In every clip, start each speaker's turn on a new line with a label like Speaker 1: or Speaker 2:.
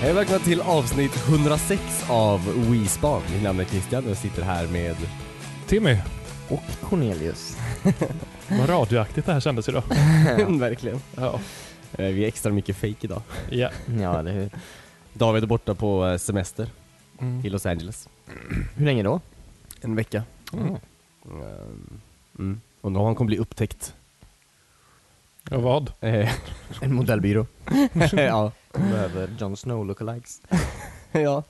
Speaker 1: Hej och välkomna till avsnitt 106 av WeSpan. Mitt namn är Christian och jag sitter här med...
Speaker 2: Timmy,
Speaker 3: Och Cornelius.
Speaker 2: vad radioaktigt det här kändes idag.
Speaker 1: Verkligen.
Speaker 2: Ja,
Speaker 1: Eh, Vi är extra mycket fake idag.
Speaker 2: ja.
Speaker 3: Ja, eller hur?
Speaker 1: David är borta på eh, semester i
Speaker 2: Mm.
Speaker 1: Los Angeles.
Speaker 3: Hur länge då?
Speaker 1: En vecka.
Speaker 3: Mm.
Speaker 1: Mm. Och nu har han kommer bli upptäckt.
Speaker 2: Och vad?
Speaker 1: Eh,
Speaker 3: En modellbyrå.
Speaker 1: ja.
Speaker 3: Behöver Jon Snow lookalikes.
Speaker 1: ja.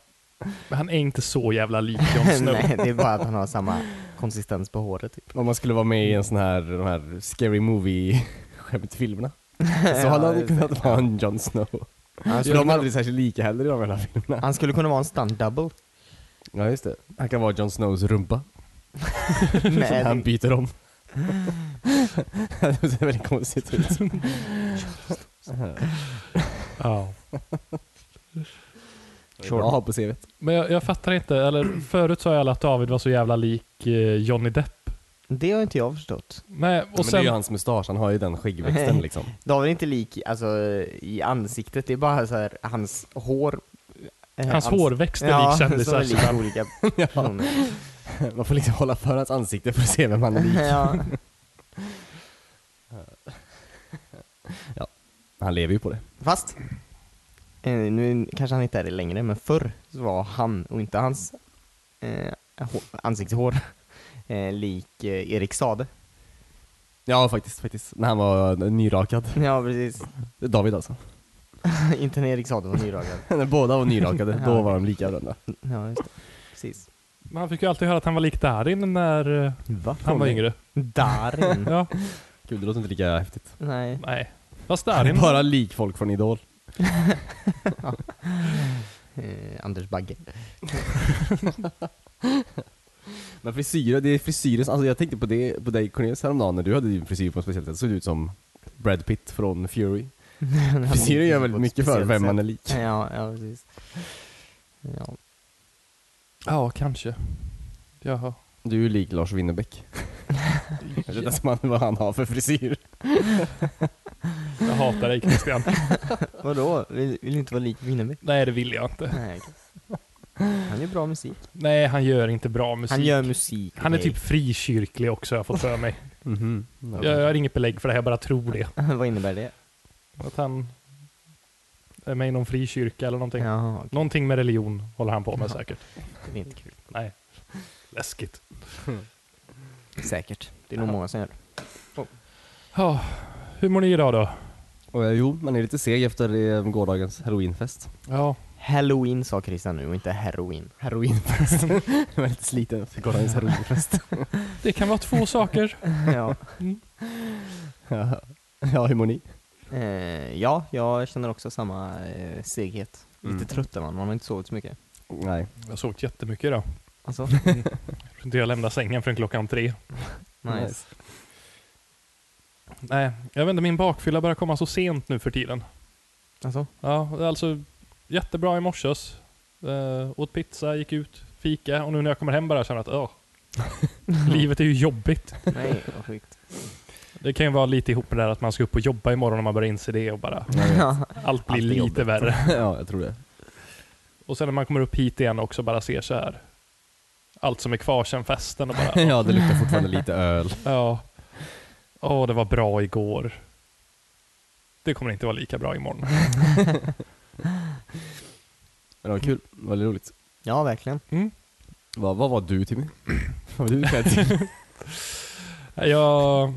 Speaker 2: Men han är inte så jävla lik Jon Snow.
Speaker 3: Nej, det är bara att han har samma konsistens på håret typ.
Speaker 1: Om man skulle vara med i en sån här, de här scary movie skämtfilmerna. Så hade han
Speaker 3: just det.
Speaker 1: kunnat vara en Jon Snow.
Speaker 3: Han
Speaker 1: För de
Speaker 3: skulle,
Speaker 1: är aldrig särskilt lika heller i de här filmerna.
Speaker 3: han skulle kunna vara en stunt double.
Speaker 1: Ja just det. Han kan vara Jon Snows rumpa. Som han
Speaker 3: Med
Speaker 1: byter om. det ser väldigt konstigt ut.
Speaker 2: Ja.
Speaker 1: Bra att ha på CVt.
Speaker 2: Men jag, jag fattar inte, eller förut sa ju alla att David var så jävla lik eh, Johnny Depp.
Speaker 3: Det har inte jag förstått.
Speaker 2: Nej, och
Speaker 1: Men det är ju
Speaker 2: sen,
Speaker 1: hans mustasch, han har ju den skäggväxten liksom.
Speaker 3: David är inte lik i- alltså, i ansiktet, det är bara så här, hans hår. eh,
Speaker 2: hans hårväxt är
Speaker 3: Ja,
Speaker 2: lik
Speaker 3: som
Speaker 2: kändisar.
Speaker 3: är
Speaker 2: så
Speaker 3: lik
Speaker 2: han-
Speaker 3: olika personer.
Speaker 1: Man får liksom hålla för hans ansikte för att se vem han är lik.
Speaker 3: ja.
Speaker 1: Han lever ju på det.
Speaker 3: Fast, eh, nu kanske han inte är det längre, men förr så var han och inte hans eh, hår- ansiktshår eh, lik eh, Erik Sade.
Speaker 1: Ja faktiskt, faktiskt. När han var nyrakad.
Speaker 3: Ja precis,
Speaker 1: David alltså.
Speaker 3: inte när Erik Sade var nyrakad.
Speaker 1: När båda var nyrakade,
Speaker 3: Ja.
Speaker 1: då var de lika varandra.
Speaker 3: Ja just det, precis.
Speaker 2: Men han fick ju alltid höra att han var lik Darin när eh,
Speaker 1: Va?
Speaker 2: han var yngre.
Speaker 3: Darin.
Speaker 2: Ja,
Speaker 1: Gud, det låter inte lika häftigt.
Speaker 3: Nej.
Speaker 2: nej. Fast
Speaker 1: Han
Speaker 2: Darin,
Speaker 1: är bara lik folk från Idol.
Speaker 3: Eh, Anders Bagge.
Speaker 1: Men frisyrer, det är frisyren, alltså jag tänkte på det, på dig Cornelius häromdagen när du hade din frisyr på ett speciellt sätt, såg du ut som Brad Pitt från Fury. Frisyren gör väldigt mycket för vem man är lik.
Speaker 3: Ja, ja precis. Ja.
Speaker 2: ja kanske. Jaha.
Speaker 1: Du är lik Lars Winnerbäck. Jag vet inte vad han har för frisyr.
Speaker 2: Jag hatar dig Christian.
Speaker 3: Vadå, vill, vill du inte vara lik Winnerbäck?
Speaker 2: Nej, det vill jag inte.
Speaker 3: Nej. Han gör bra musik.
Speaker 2: Nej, han gör inte bra musik.
Speaker 3: Han gör musik.
Speaker 2: Han är
Speaker 3: okej.
Speaker 2: typ frikyrklig också har jag fått för mig.
Speaker 1: Mhm.
Speaker 2: Jag har inget belägg för det, här, jag bara tror det.
Speaker 3: Vad innebär det?
Speaker 2: Att han är med i någon frikyrka eller någonting.
Speaker 3: Jaha, okej.
Speaker 2: Någonting med religion håller han på med säkert.
Speaker 3: det är inte kul.
Speaker 2: Nej, läskigt.
Speaker 3: Säkert. Det är nog
Speaker 2: Ja.
Speaker 3: många som gör det.
Speaker 2: Ja, hur mår ni idag då?
Speaker 1: Och, eh, jo, man är lite seg efter eh, gårdagens halloweenfest.
Speaker 2: Ja,
Speaker 3: Halloween sa Christian nu och inte heroin.
Speaker 1: Heroinfest. jag var lite sliten efter gårdagens heroinfest.
Speaker 2: det kan vara två saker.
Speaker 3: ja.
Speaker 1: ja, Ja, hur mår ni?
Speaker 3: Eh, ja, jag känner också samma eh, seghet. Lite
Speaker 1: Mm.
Speaker 3: trött är man, man har inte sovit så mycket.
Speaker 1: Nej.
Speaker 2: Jag har sovit jättemycket idag.
Speaker 3: Alltså,
Speaker 2: Jag tror inte jag lämnade sängen förrän klockan tre.
Speaker 3: nice.
Speaker 2: Nej, jag vet inte, min bakfylla börjar komma så sent nu för tiden.
Speaker 3: Alltså,
Speaker 2: Ja, det är alltså jättebra i morses. Eh, åt pizza, gick ut, fika och nu när jag kommer hem bara känner jag att åh, livet är ju jobbigt.
Speaker 3: nej vad sjukt.
Speaker 2: Det kan ju vara lite ihop med det här att man ska upp och jobba imorgon och man börjar inse det och bara
Speaker 3: Ja,
Speaker 2: allt blir
Speaker 3: Allt är
Speaker 2: lite
Speaker 3: jobbigt.
Speaker 2: värre.
Speaker 1: ja, jag tror det.
Speaker 2: Och sen när man kommer upp hit igen också bara ser så här allt som är kvar sen festen och bara
Speaker 1: ja, det luktar fortfarande lite öl.
Speaker 2: Ja. Åh, det var bra igår. Det kommer inte vara lika bra imorgon.
Speaker 1: Men det var kul, det var väldigt roligt.
Speaker 3: ja verkligen.
Speaker 2: Mm.
Speaker 1: Vad, vad var du Timmy? Vad var du ikväll till?
Speaker 2: Jag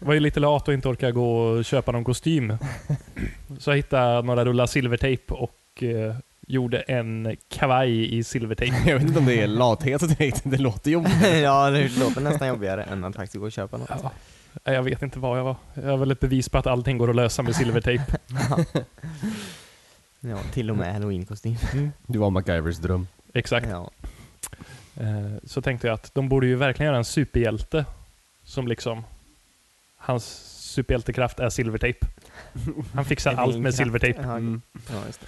Speaker 2: var ju lite lat och inte orkade gå och köpa någon kostym. Så jag hittade några rullar silvertejp och eh, gjorde en kavaj i silvertejp.
Speaker 1: Jag vet inte om det är lathet och direkt, det låter jobbigt.
Speaker 3: ja, det låter nästan jobbigare än att faktiskt gå och köpa något.
Speaker 2: Ja. Nej, Jag vet inte vad jag var. Jag har väl ett bevis på att allting går att lösa med silvertejp.
Speaker 3: Ja, till och med halloweenkostym.
Speaker 1: Du var MacGyvers dröm.
Speaker 2: Exakt.
Speaker 3: Ja.
Speaker 2: Eh, så tänkte jag att de borde ju verkligen göra en superhjälte som liksom hans superhjältekraft är silvertejp. Han fixar
Speaker 3: Det är
Speaker 2: allt
Speaker 3: ingen
Speaker 2: med
Speaker 3: kraft.
Speaker 2: silvertejp.
Speaker 3: Ja,
Speaker 1: Mm.
Speaker 3: ja, just det.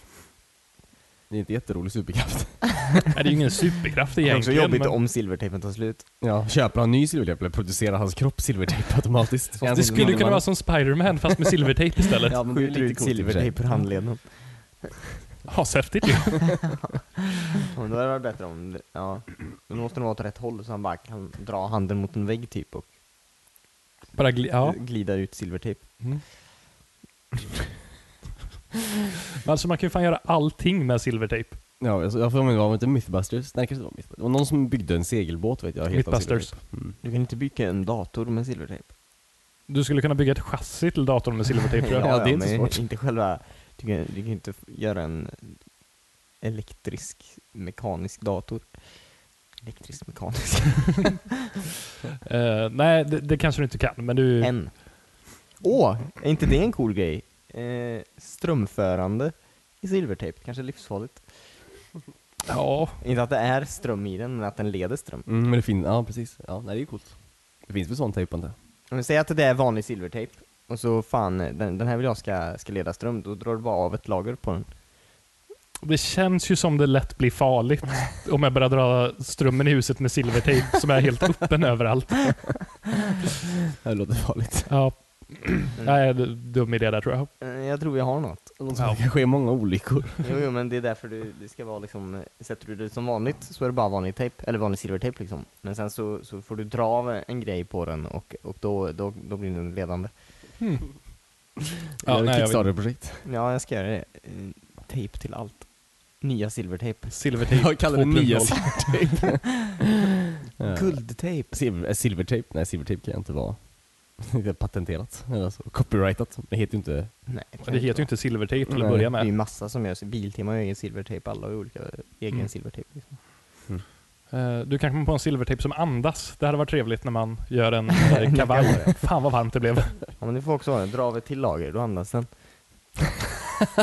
Speaker 1: Det är inte jätterolig superkraft.
Speaker 2: Nej, Det är ju ingen superkraft
Speaker 3: det är också
Speaker 2: egentligen.
Speaker 3: jobbigt
Speaker 2: men
Speaker 3: om silvertejpen tar slut.
Speaker 1: Ja, köper han ny silvertejp eller producerar hans kropp silvertejp automatiskt?
Speaker 2: det skulle kunna vara som Spiderman fast med silvertejp istället.
Speaker 1: Ja, men det är
Speaker 3: Skjuter
Speaker 1: lite
Speaker 3: ut
Speaker 1: coolt i och för sig.
Speaker 3: silvertejp ur handleden.
Speaker 2: Ashäftigt ju.
Speaker 3: Ja, men då hade det varit bättre om, ja. Då måste den vara åt rätt håll så han bara kan dra handen mot en vägg typ och
Speaker 2: Bara gli- ja.
Speaker 3: glida ut silvertejp.
Speaker 2: Mm. alltså man kan ju fan göra allting med silvertejp.
Speaker 1: Ja, alltså, jag får mig, var det inte Mythbusters? Nej, kanske det var Mythbusters. Det var någon som byggde en segelbåt vet jag. helt av
Speaker 2: Mythbusters.
Speaker 1: silvertejp. Mm.
Speaker 3: Du kan inte bygga en dator med silvertejp.
Speaker 2: Du skulle kunna bygga ett chassi till datorn med silvertejp tror jag.
Speaker 1: Ja, det är inte
Speaker 3: men
Speaker 1: svårt.
Speaker 3: Inte själva, du kan, du kan inte f- göra en elektrisk mekanisk dator. Elektrisk mekanisk.
Speaker 2: Eh, nej, det, det kanske du inte kan, men du...
Speaker 3: En. Åh, är inte det en cool grej? Eh, strömförande i silvertejp, kanske livsfarligt.
Speaker 2: Ja,
Speaker 3: Inte att det är ström i den, men att den leder ström.
Speaker 1: Mm, men det finns, ja precis. Ja, nej, det är coolt. Det finns väl sån tejp antar jag?
Speaker 3: Om vi säger att det är vanlig silvertejp, och så fan, den, den här vill jag ska, ska leda ström, då drar du bara av ett lager på den.
Speaker 2: det känns ju som det lätt blir farligt om jag börjar dra strömmen i huset med silvertejp som är helt öppen överallt.
Speaker 1: Det låter farligt.
Speaker 2: Ja.
Speaker 1: Mm.
Speaker 2: Nej, d- dum idé där tror jag.
Speaker 3: Eh, Jag tror jag har något.
Speaker 1: Det låter som att det kan ske många olyckor.
Speaker 3: Jo, jo men det är därför du, det ska vara liksom, eh, sätter du det som vanligt så är det bara vanlig tejp, eller vanlig silvertejp liksom. Men sen så, så får du dra av en grej på den och, och då, då, då blir den ledande.
Speaker 1: det
Speaker 2: Ja,
Speaker 1: är
Speaker 2: nej,
Speaker 1: ett
Speaker 2: jag
Speaker 1: Kickstarter-projekt.
Speaker 3: Ja, jag ska göra det. Eh, Tejp till allt. Nya silvertejp.
Speaker 2: Silvertejp
Speaker 1: Jag kallar det nya
Speaker 2: 2.0.
Speaker 1: silvertejp. Ja.
Speaker 3: Guldtejp.
Speaker 1: Silver, eh, silvertejp? Nej, silvertejp kan jag inte vara. Det är patenterat, eller alltså, copyrightat. Det heter ju inte...
Speaker 3: Nej, kan
Speaker 2: Det heter ju
Speaker 3: vara.
Speaker 2: inte silvertejp till att
Speaker 1: Nej,
Speaker 2: börja
Speaker 3: Det är ju
Speaker 2: med.
Speaker 3: massa som gör så. Biltema har ju egen silvertejp, alla har ju olika egen
Speaker 2: Mm.
Speaker 3: silvertejp. Liksom.
Speaker 2: Eh, Du kan komma på en silvertejp som andas. Det hade varit trevligt när man gör en eh, kavaj. Fan vad varmt det blev.
Speaker 3: Ja men du får också ha den, dra av ett till lager, då andas den.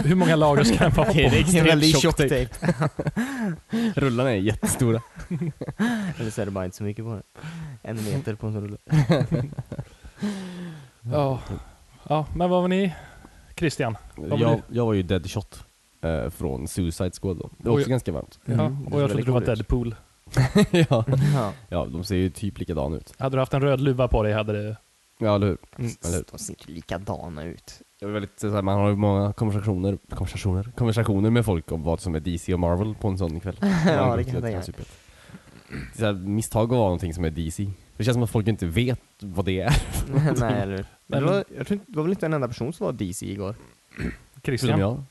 Speaker 2: Hur många lager ska den vara på?
Speaker 1: Okej, det är extremt
Speaker 3: Jävla
Speaker 1: tjock tejp.
Speaker 3: tejp.
Speaker 1: Rullarna är jättestora.
Speaker 3: Eller så är det bara inte så mycket på den. En meter på en sån rulle.
Speaker 2: Ja. ja, men vad var ni? Christian? var
Speaker 1: jag, jag var ju deadshot eh, från Suicide Squad då. Det var
Speaker 2: Oj.
Speaker 1: också ganska varmt.
Speaker 2: Ja, och jag
Speaker 1: Mm. väldigt
Speaker 2: trodde du var
Speaker 1: coolt ut.
Speaker 2: Deadpool.
Speaker 1: ja.
Speaker 3: Ja.
Speaker 1: ja, de ser ju typ likadana ut.
Speaker 2: Hade du haft en röd luva på dig hade det...
Speaker 1: Ja, eller hur?
Speaker 2: Mm.
Speaker 1: Eller hur?
Speaker 3: De ser inte likadana ut.
Speaker 1: Jag är väldigt, så här, man har ju många konversationer, konversationer, konversationer med folk om vad som är DC och Marvel på en sån kväll.
Speaker 3: Ja,
Speaker 1: Man går
Speaker 3: det kan jag
Speaker 1: till
Speaker 3: tänka
Speaker 1: ett
Speaker 3: mig.
Speaker 1: superhjälte. Det är så här, misstag att vara någonting som är DC. Det känns som att folk inte vet vad det är.
Speaker 3: Nej, eller hur? Men det
Speaker 2: Men-
Speaker 3: var, jag tror inte, det var väl inte en enda person som var DC igår?
Speaker 1: Förutom
Speaker 2: Christian?
Speaker 1: jag.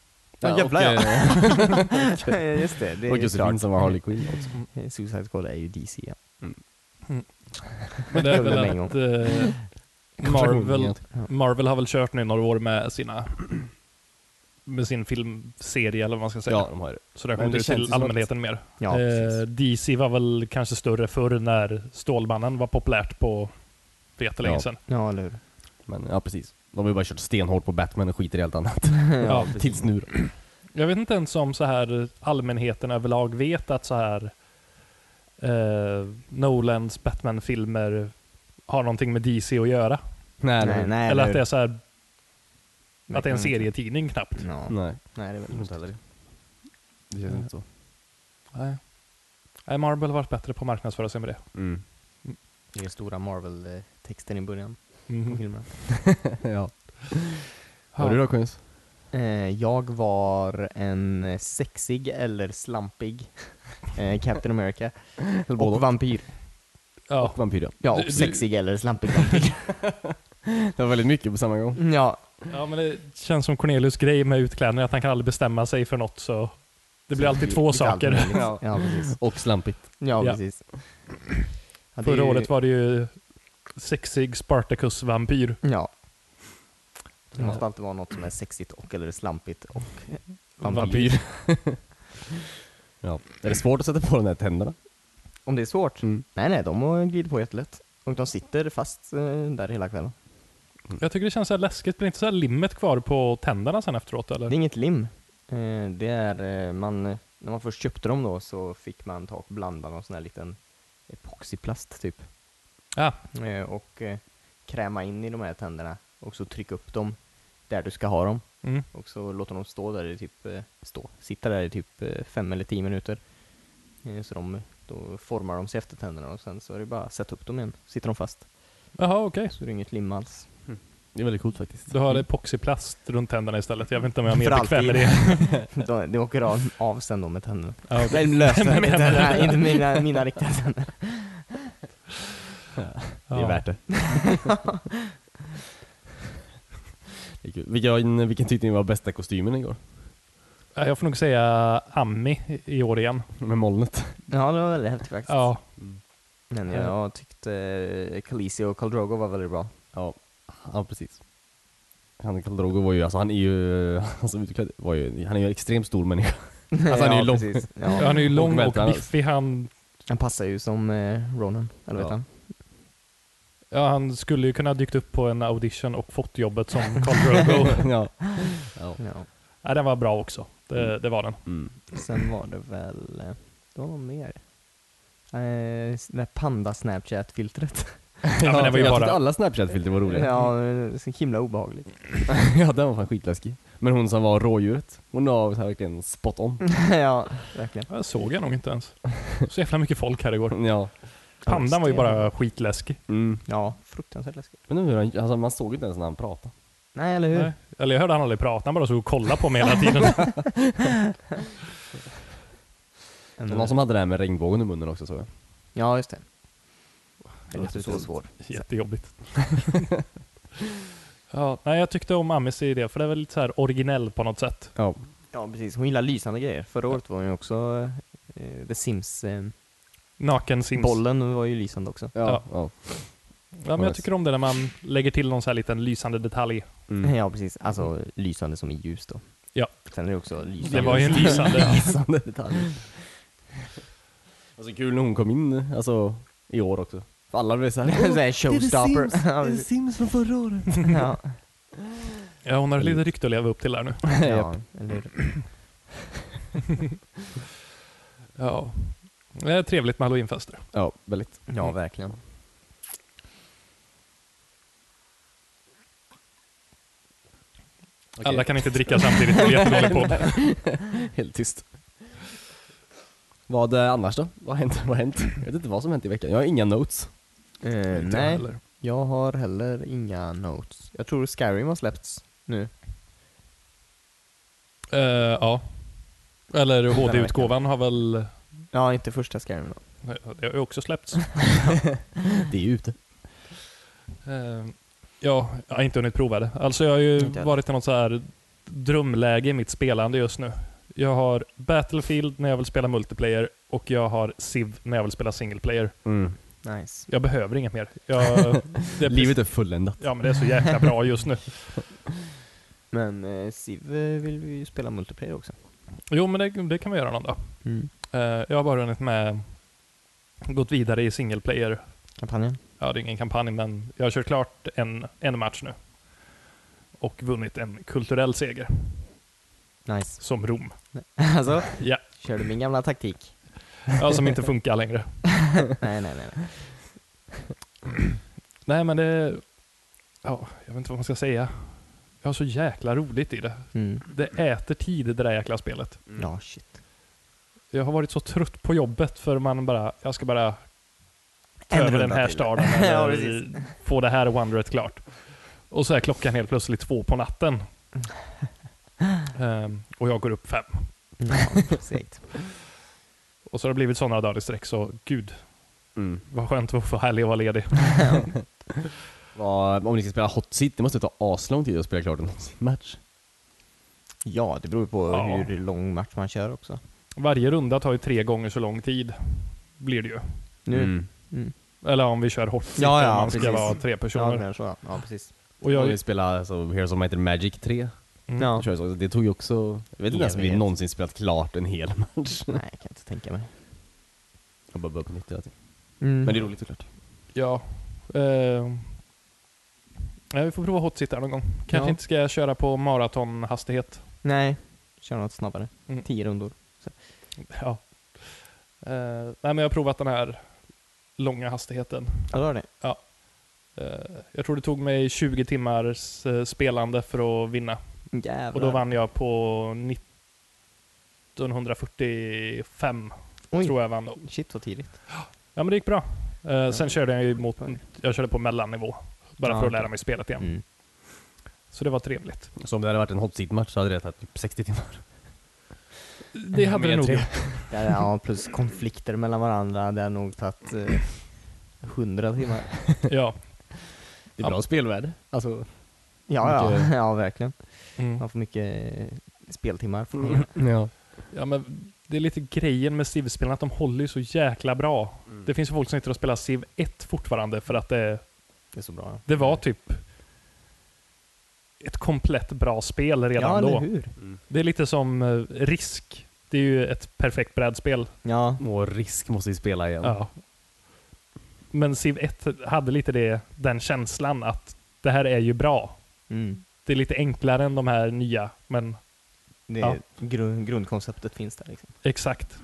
Speaker 3: Ja, jävlar,
Speaker 1: liksom, och,
Speaker 3: ja.
Speaker 1: eh,
Speaker 3: Just det, det
Speaker 1: och
Speaker 3: är ju
Speaker 1: Josefin
Speaker 3: klart.
Speaker 1: som var Harley Quinn också.
Speaker 3: Eh, Suicide Squad är ju DC ja.
Speaker 2: Men det är
Speaker 3: Med en
Speaker 2: väl
Speaker 3: gång.
Speaker 2: att eh, Marvel, Marvel har väl kört nu några år med sina med sin filmserie eller vad man ska säga.
Speaker 1: Ja, de har det.
Speaker 2: Så det
Speaker 1: Men
Speaker 2: kommer
Speaker 1: det
Speaker 2: ut
Speaker 1: känns ju
Speaker 2: till
Speaker 1: som att-
Speaker 2: allmänheten mer.
Speaker 3: Ja,
Speaker 2: eh,
Speaker 3: precis.
Speaker 2: DC var väl kanske större förr när Stålmannen var populärt på för jättelänge
Speaker 1: Ja.
Speaker 2: sedan.
Speaker 3: Ja, eller hur?
Speaker 1: Men ja, precis. De har ju bara kört stenhårt på Batman och skiter i allt annat.
Speaker 2: Ja,
Speaker 1: Tills nu då.
Speaker 2: Jag vet inte ens om så här allmänheten överlag vet att så här eh, Nolans Batman-filmer har någonting med DC att göra.
Speaker 1: Nej,
Speaker 3: Nej, nej,
Speaker 2: eller att
Speaker 3: hur?
Speaker 2: det är så här, att det är en
Speaker 3: kan inte-
Speaker 2: serietidning knappt.
Speaker 3: Ja. Nej.
Speaker 1: Nej,
Speaker 3: det är väl
Speaker 1: inte heller. Det känns inte så.
Speaker 2: Nej. Nej, Marvel har varit bättre på att marknadsföra sig med det.
Speaker 1: Mm.
Speaker 3: Den stora Marvel-texten i början på
Speaker 2: Mm.
Speaker 3: filmen.
Speaker 1: ja. Hör du då Kungs?
Speaker 3: Eh, jag var en sexig eller slampig eh, Captain America.
Speaker 1: både
Speaker 3: och
Speaker 1: och.
Speaker 3: vampyr.
Speaker 2: Ja.
Speaker 1: Och vampyr ja.
Speaker 3: Ja,
Speaker 2: Du-
Speaker 3: och
Speaker 2: du-
Speaker 3: sexig eller slampig vampyr.
Speaker 1: Det var väldigt mycket på samma gång.
Speaker 3: ja,
Speaker 2: ja, men det känns som Cornelius grej med utklädning, att han kan aldrig bestämma sig för något så det blir alltid två
Speaker 3: lite
Speaker 2: saker.
Speaker 3: allt möjligt. Ja, precis.
Speaker 1: Och slampigt.
Speaker 3: Ja,
Speaker 2: Ja.
Speaker 3: precis. Ja, det är
Speaker 2: Förra
Speaker 3: ju-
Speaker 2: året var det ju sexig Spartacus-vampyr.
Speaker 3: Ja. Det måste alltid vara något som är sexigt och eller slampigt och eh, vampyr.
Speaker 2: Vampyr.
Speaker 1: Ja. Är det svårt att sätta på de här tänderna?
Speaker 3: Om det är svårt?
Speaker 1: Mm.
Speaker 3: Nej, nej, de har glidit på jättelätt. Och de sitter fast eh, där hela kvällen.
Speaker 2: Jag tycker det känns så här läskigt. Blir inte så här limmet kvar på tänderna sen efteråt eller?
Speaker 3: Det är inget lim. Eh, det är, eh, man, eh, när man först köpte dem då så fick man ta och blanda någon sån här liten epoxiplast typ.
Speaker 2: Ja,
Speaker 3: Eh, och eh, kräma in i de här tänderna och så trycka upp dem där du ska ha dem.
Speaker 2: mm.
Speaker 3: Och så låter de stå där i typ, eh, stå, sitta där i typ eh, fem eller tio minuter. Eh, Så de, då formar de sig efter tänderna och sen så är det bara att sätta upp dem igen. Sitter de fast.
Speaker 2: Jaha, okej.
Speaker 3: Så det är inget lim alls.
Speaker 1: Det är väldigt coolt faktiskt.
Speaker 2: Du har epoxyplast runt tänderna istället. Jag vet inte om jag är
Speaker 3: För
Speaker 2: mer bekväm med det.
Speaker 3: De, det åker av, av sen då med tänderna.
Speaker 2: Ja, okej.
Speaker 3: Nej, lösa
Speaker 2: Men-
Speaker 3: med tänderna, inte mina, mina riktiga tänder.
Speaker 1: Det är
Speaker 2: Ja.
Speaker 1: värt det. det är kul. vilken, vilken tyckte ni var bästa kostymen igår?
Speaker 2: Ja, Jag får nog säga Ammi i- i år igen.
Speaker 1: Med molnet.
Speaker 3: Ja, det var väldigt häftigt faktiskt.
Speaker 2: Ja,
Speaker 1: Mm.
Speaker 3: Men jag tyckte Khaleesi och Khal Drogo var väldigt bra.
Speaker 1: Ja, ja precis. Han Khal Drogo var ju, alltså han är ju, alltså, han som utklädd var ju, han är ju en extremt stor människa. Alltså, han är ju
Speaker 3: ja,
Speaker 1: lång.
Speaker 3: precis.
Speaker 2: Ja,
Speaker 3: Ja.
Speaker 2: han är ju lång och
Speaker 1: vältränad.
Speaker 2: biffig. Han,
Speaker 3: Han passar ju som eh, Ronan, eller
Speaker 1: Ja.
Speaker 3: vet han?
Speaker 2: ja, han skulle ju kunna ha dykt upp på en audition och fått jobbet som Carl Drogo.
Speaker 1: ja. ja.
Speaker 3: Ja.
Speaker 2: ja, den var bra också. Det, det var den.
Speaker 1: Mm.
Speaker 3: Sen var det väl, eh, det var något mer. Eh, s- det där panda-snapchat-filtret.
Speaker 2: Ja, men det var ju
Speaker 1: jag tyckte
Speaker 2: bara...
Speaker 1: alla Snapchat-filter var roliga.
Speaker 3: ja, eh, så himla obehagligt.
Speaker 1: ja, den var fan skitläskig. Men hon som var rådjuret, hon var så här verkligen spot on.
Speaker 3: ja, verkligen.
Speaker 2: Jag såg jag nog inte ens. Så jävla mycket folk här
Speaker 3: Mm.
Speaker 2: igår.
Speaker 1: Ja.
Speaker 2: Pandan var ju
Speaker 3: Extremt.
Speaker 2: bara skitläskig.
Speaker 1: Mm.
Speaker 3: Ja, fruktansvärt läskigt.
Speaker 1: Men hur han, alltså man såg ju inte ens när han pratade.
Speaker 3: Nej, eller hur?
Speaker 2: Nej. Eller jag hörde han aldrig prata, han bara stod och kollade på mig hela tiden.
Speaker 1: Det var någon som hade det här med regnbågen i munnen också såg jag.
Speaker 3: Ja, just det.
Speaker 2: Det
Speaker 3: Den är
Speaker 2: låter
Speaker 3: så
Speaker 2: så-
Speaker 3: svår.
Speaker 2: Jättejobbigt. ja, nej, jag tyckte om Amis idé, för det var lite så här originell på något sätt.
Speaker 1: Ja.
Speaker 3: Ja, precis. Hon gillar lysande grejer. Förra året var hon ju också eh, The Sims, eh,
Speaker 2: Naken sims.
Speaker 3: Bollen var ju lysande också.
Speaker 1: Ja.
Speaker 2: Ja.
Speaker 1: ja.
Speaker 2: Ja, men jag tycker om det när man lägger till någon så här liten lysande detalj.
Speaker 1: Mm.
Speaker 3: Ja, precis. Alltså lysande som i ljus då.
Speaker 2: Ja.
Speaker 3: Sen är det också lysande.
Speaker 2: Det var ju en lysande...
Speaker 1: Lysande detaljer. Alltså kul när hon kom in, alltså i år också. För alla blev såhär,
Speaker 3: Så här showstopper. Ja, precis.
Speaker 1: Sims från förra året.
Speaker 3: ja.
Speaker 2: Ja, hon har ett litet rykte att leva upp till där nu.
Speaker 3: ja, eller hur?
Speaker 2: Ja. Det är trevligt med halloweenfester.
Speaker 1: Ja, väldigt.
Speaker 3: Ja, verkligen.
Speaker 1: Okej.
Speaker 2: Alla kan inte dricka samtidigt, det är jättedålig podd.
Speaker 1: Helt tyst. Vad eh, annars då? Vad har hänt? Vad har hänt? Jag vet inte vad som hänt i veckan. Jag har inga notes.
Speaker 3: Eh,
Speaker 2: Inte
Speaker 3: nej,
Speaker 2: heller.
Speaker 3: jag har heller inga notes. Jag tror Skyrim har släppts nu.
Speaker 2: Eh, ja. Eller HD-utgåvan har väl...
Speaker 3: Ja, inte första Skyrim då.
Speaker 2: Nej, Det har ju också släppts.
Speaker 1: Det är ju ute.
Speaker 2: Eh, ja, jag har inte hunnit prova det. Alltså jag har ju
Speaker 3: Inte jag.
Speaker 2: varit i något så här drömläge i mitt spelande just nu. Jag har Battlefield när jag vill spela multiplayer och jag har Civ när jag vill spela single player.
Speaker 1: Mm.
Speaker 3: Nice.
Speaker 2: Jag behöver inget mer. Jag, det är
Speaker 1: Livet är fulländat.
Speaker 2: Ja men det är så jäkla bra just nu.
Speaker 3: Men eh, Civ eh, vill vi ju spela multiplayer också.
Speaker 2: Jo men det, det kan vi göra någon dag. Eh, jag har bara hunnit med gått vidare i single player.
Speaker 3: Kampanjen.
Speaker 2: Ja, det är ingen kampanj men jag har kört klart en, en match nu. Och vunnit en kulturell seger
Speaker 3: Nice.
Speaker 2: som Rom.
Speaker 3: alltså,
Speaker 2: Ja,
Speaker 3: kör du min gamla taktik?
Speaker 2: ja Alltså, som inte funkar längre.
Speaker 3: nej, nej, nej. nej.
Speaker 2: Nej, men det... Ja, jag vet inte vad man ska säga. Jag har så jäkla roligt i det.
Speaker 3: Mm.
Speaker 2: Det äter tid det där jäkla spelet.
Speaker 1: Mm.
Speaker 3: Ja, shit.
Speaker 2: Jag har varit så trött på jobbet för man bara, jag ska bara ta
Speaker 3: En
Speaker 2: över den
Speaker 3: runda
Speaker 2: här
Speaker 3: till.
Speaker 2: staden
Speaker 3: Ja,
Speaker 2: eller
Speaker 3: precis.
Speaker 2: få det här Wonderet klart. Och så är klockan helt plötsligt två på natten. Ehm, och jag går upp fem.
Speaker 3: Ja, segt.
Speaker 2: Och så har det blivit sådana dagar i sträck så gud
Speaker 1: Mm.
Speaker 2: vad skönt att få härlig och vara ledig.
Speaker 1: Vad, om ni ska spela Hot Seat, det måste ta aslång tid att spela klart en match.
Speaker 3: Ja, det beror på
Speaker 2: Ja.
Speaker 3: hur lång match man kör också.
Speaker 2: Varje runda tar ju tre gånger så lång tid. Blir det ju.
Speaker 3: Nu.
Speaker 1: Mm.
Speaker 3: Mm.
Speaker 2: Eller om vi kör hårt sitt,
Speaker 3: Ja, ja,
Speaker 2: om man ska
Speaker 3: precis.
Speaker 2: vara tre
Speaker 3: Ja,
Speaker 2: personer.
Speaker 3: det är så, ja. ja, precis.
Speaker 2: och
Speaker 1: Jag
Speaker 2: jag,
Speaker 1: vill spela alltså, Heroes of Might and Magic 3.
Speaker 2: mm,
Speaker 3: Ja.
Speaker 1: Kör så. Det tog ju också, jag vet inte ens om vi
Speaker 3: Evighet.
Speaker 1: någonsin spelat klart en hel match.
Speaker 3: Nej, jag kan inte tänka mig.
Speaker 1: Jag bara börjar på nytt hela tiden.
Speaker 3: Mm.
Speaker 1: Men det är roligt såklart.
Speaker 2: ja. Eh, ja, vi får prova hot sit här någon gång. Kanske
Speaker 3: Ja.
Speaker 2: inte ska jag köra på maratonhastighet.
Speaker 3: Nej, kör något snabbare.
Speaker 2: Mm.
Speaker 3: Tio rundor.
Speaker 2: Ja. Eh, nej, men jag har provat den här långa hastigheten.
Speaker 3: Ja, då är det.
Speaker 2: Eh, jag tror det tog mig 20 timmars eh, spelande för att vinna.
Speaker 3: Jävlar.
Speaker 2: Och då vann jag på 1945,
Speaker 3: Oj,
Speaker 2: tror jag vann då.
Speaker 3: shit vad tidigt.
Speaker 2: Ja men det gick Ehm, bra. Eh, sen körde jag ju mot, jag körde på mellannivå. Bara
Speaker 3: Ja,
Speaker 2: för att
Speaker 3: okej.
Speaker 2: lära mig spelet igen.
Speaker 3: Mm.
Speaker 2: Så det var trevligt.
Speaker 1: Så om det hade varit en hot seat-match så hade det tagit typ 60 timmar.
Speaker 2: Det hade det
Speaker 1: Mer
Speaker 2: nog
Speaker 1: tre-
Speaker 2: gjort.
Speaker 3: Ja, ja, plus konflikter mellan varandra, det har nog tagit eh, hundra timmar.
Speaker 2: Ja.
Speaker 1: Det är bra spelvärde. Alltså,
Speaker 3: Ja,
Speaker 1: Mycket-
Speaker 3: ja, ja, verkligen.
Speaker 2: Mm.
Speaker 3: Man får mycket eh, speltimmar. För mm.
Speaker 1: ja.
Speaker 2: ja men det är lite grejen med Civ-spelen, att de håller ju så jäkla bra. Det finns ju folk som sitter och spelar Civ 1 fortfarande för att det,
Speaker 3: Det är så bra.
Speaker 2: det var typ ett komplett bra spel
Speaker 3: ja,
Speaker 2: redan
Speaker 3: eller
Speaker 2: då.
Speaker 3: hur?
Speaker 2: Det är lite som eh, Risk. Det är ju ett perfekt brädspel.
Speaker 3: Ja,
Speaker 1: Och risk måste vi spela igen.
Speaker 2: Ja. Men Civ 1 hade lite det, den känslan att det här är ju bra.
Speaker 3: mm.
Speaker 2: Det är lite enklare än de här nya, men
Speaker 3: det,
Speaker 2: Ja.
Speaker 3: gru- grundkonceptet finns där. Liksom.
Speaker 2: exakt.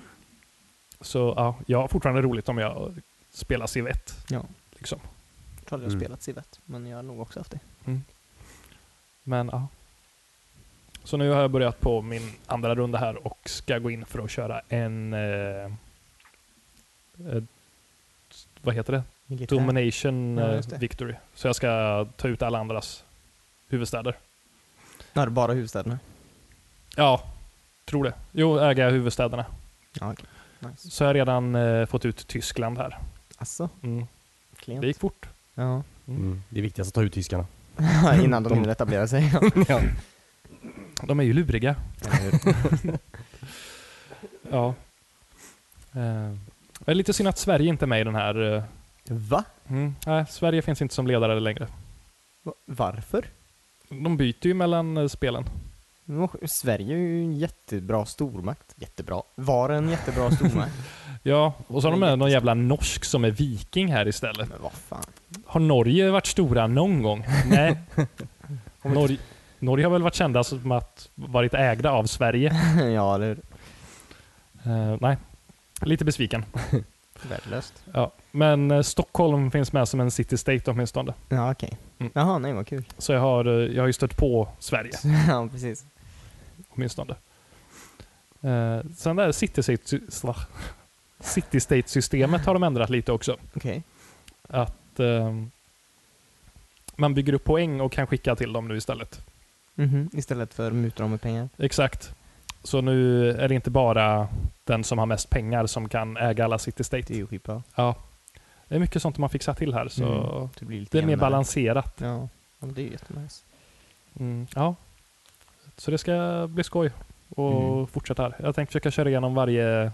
Speaker 2: Så ja, jag har fortfarande roligt om jag spelar Civ 1.
Speaker 3: Ja.
Speaker 2: Liksom.
Speaker 3: Jag tror aldrig jag har spelat Civet, men jag har nog också haft det.
Speaker 2: Men ja. Så nu har jag börjat på min andra runda här och ska gå in för att köra en... Eh, eh, vad heter det?
Speaker 3: Militär.
Speaker 2: Domination
Speaker 3: Ja,
Speaker 2: eh,
Speaker 3: just det.
Speaker 2: Victory. Så jag ska ta ut alla andras huvudstäder.
Speaker 3: Ja, det är bara huvudstäderna.
Speaker 2: Ja, tror det. Jo, äga huvudstäderna.
Speaker 3: Ja, okej. Nice.
Speaker 2: Så jag har redan eh, fått ut Tyskland här.
Speaker 3: Asså,
Speaker 2: Mm.
Speaker 3: klent.
Speaker 2: Det gick fort.
Speaker 3: Ja.
Speaker 1: Mm. Det är viktigast att ta ut tyskarna.
Speaker 3: Innan de
Speaker 1: De-
Speaker 3: hinner etablera sig.
Speaker 1: ja.
Speaker 2: De är ju luriga. Ja. Eh, det är lite synd att Sverige inte är med i den här. Eh,
Speaker 3: Va?
Speaker 2: mm. Nej, Sverige finns inte som ledare längre.
Speaker 3: Va- Varför?
Speaker 2: De byter ju mellan eh, spelen.
Speaker 3: Sverige är ju en jättebra stormakt. Jättebra. Var en jättebra stormakt.
Speaker 2: Ja, och så har de med någon jävla norsk som är viking här istället.
Speaker 3: men vad fan.
Speaker 2: Har Norge varit stora någon gång? Nej. Norge, Norge har väl varit kända som att varit ägda av Sverige.
Speaker 3: ja, eller hur?
Speaker 2: Eh, nej, lite besviken.
Speaker 3: Värdelöst.
Speaker 2: Ja, men eh, Stockholm finns med som en city state åtminstone.
Speaker 3: Ja, okej.
Speaker 2: Mm.
Speaker 3: Jaha, nej vad kul.
Speaker 2: Så jag har, eh, jag har ju stött på Sverige
Speaker 3: ja, precis.
Speaker 2: åtminstone. Eh, sen det här city state, sla- city state systemet har de ändrat lite också.
Speaker 3: Okej.
Speaker 2: Att eh, man bygger upp poäng och kan skicka till dem nu istället.
Speaker 3: Mhm. Istället för muta dem med pengar.
Speaker 2: Exakt. Så nu är det inte bara den som har mest pengar som kan äga alla city
Speaker 3: Det är
Speaker 2: state.
Speaker 3: ju skitbra.
Speaker 2: Ja. Det är mycket sånt de har fixat till här så
Speaker 3: Typ. Mm. Det blir lite
Speaker 2: det är mer
Speaker 3: jämnare.
Speaker 2: balanserat.
Speaker 3: Ja. ja, men det är ju jättenice.
Speaker 2: Mm, ja. Så det ska bli skoj och
Speaker 3: Mm.
Speaker 2: fortsätta här. Jag tänkte försöka köra igenom varje,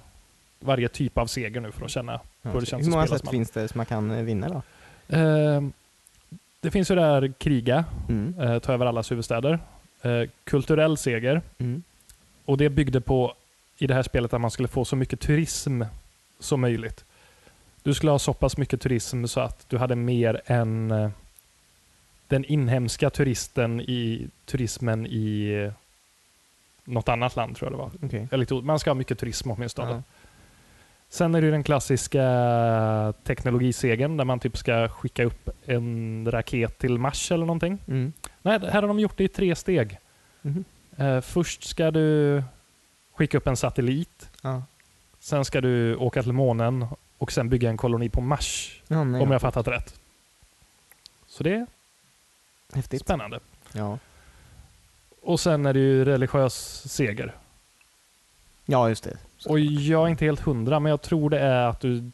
Speaker 2: varje typ av seger nu för att känna.
Speaker 3: Ja,
Speaker 2: Hur det
Speaker 3: okej.
Speaker 2: känns
Speaker 3: Hur
Speaker 2: att
Speaker 3: många
Speaker 2: spela
Speaker 3: sätt
Speaker 2: som
Speaker 3: finns det som man kan eh, vinna då?
Speaker 2: Ehm, det finns ju det här kriga,
Speaker 3: Mm.
Speaker 2: eh, ta över allas huvudstäder. Eh, kulturell seger.
Speaker 3: Mm.
Speaker 2: Och det byggde på, i det här spelet, att man skulle få så mycket turism som möjligt. Du skulle ha så pass mycket turism så att du hade mer än eh, den inhemska turisten i, turismen i eh, något annat land tror jag det var.
Speaker 3: Okej.
Speaker 2: Eller lite o- Man ska ha mycket turism åtminstone.
Speaker 3: Ja.
Speaker 2: Sen är det ju den klassiska eh, teknologisegern där man typ ska skicka upp en raket till Mars eller någonting.
Speaker 3: Mm.
Speaker 2: Nej, här har de gjort det i tre steg.
Speaker 3: Mhm.
Speaker 2: Eh, först ska du skicka upp en satellit.
Speaker 3: Ja.
Speaker 2: Sen ska du åka till månen och sen bygga en koloni på Mars.
Speaker 3: Ja, nej,
Speaker 2: Om
Speaker 3: ja.
Speaker 2: jag fattat rätt. Så det är
Speaker 3: Häftigt.
Speaker 2: spännande.
Speaker 3: Ja.
Speaker 2: Och sen är det ju religiös seger.
Speaker 3: ja, just det. Så.
Speaker 2: Och jag är inte helt hundra, men jag tror det är att du...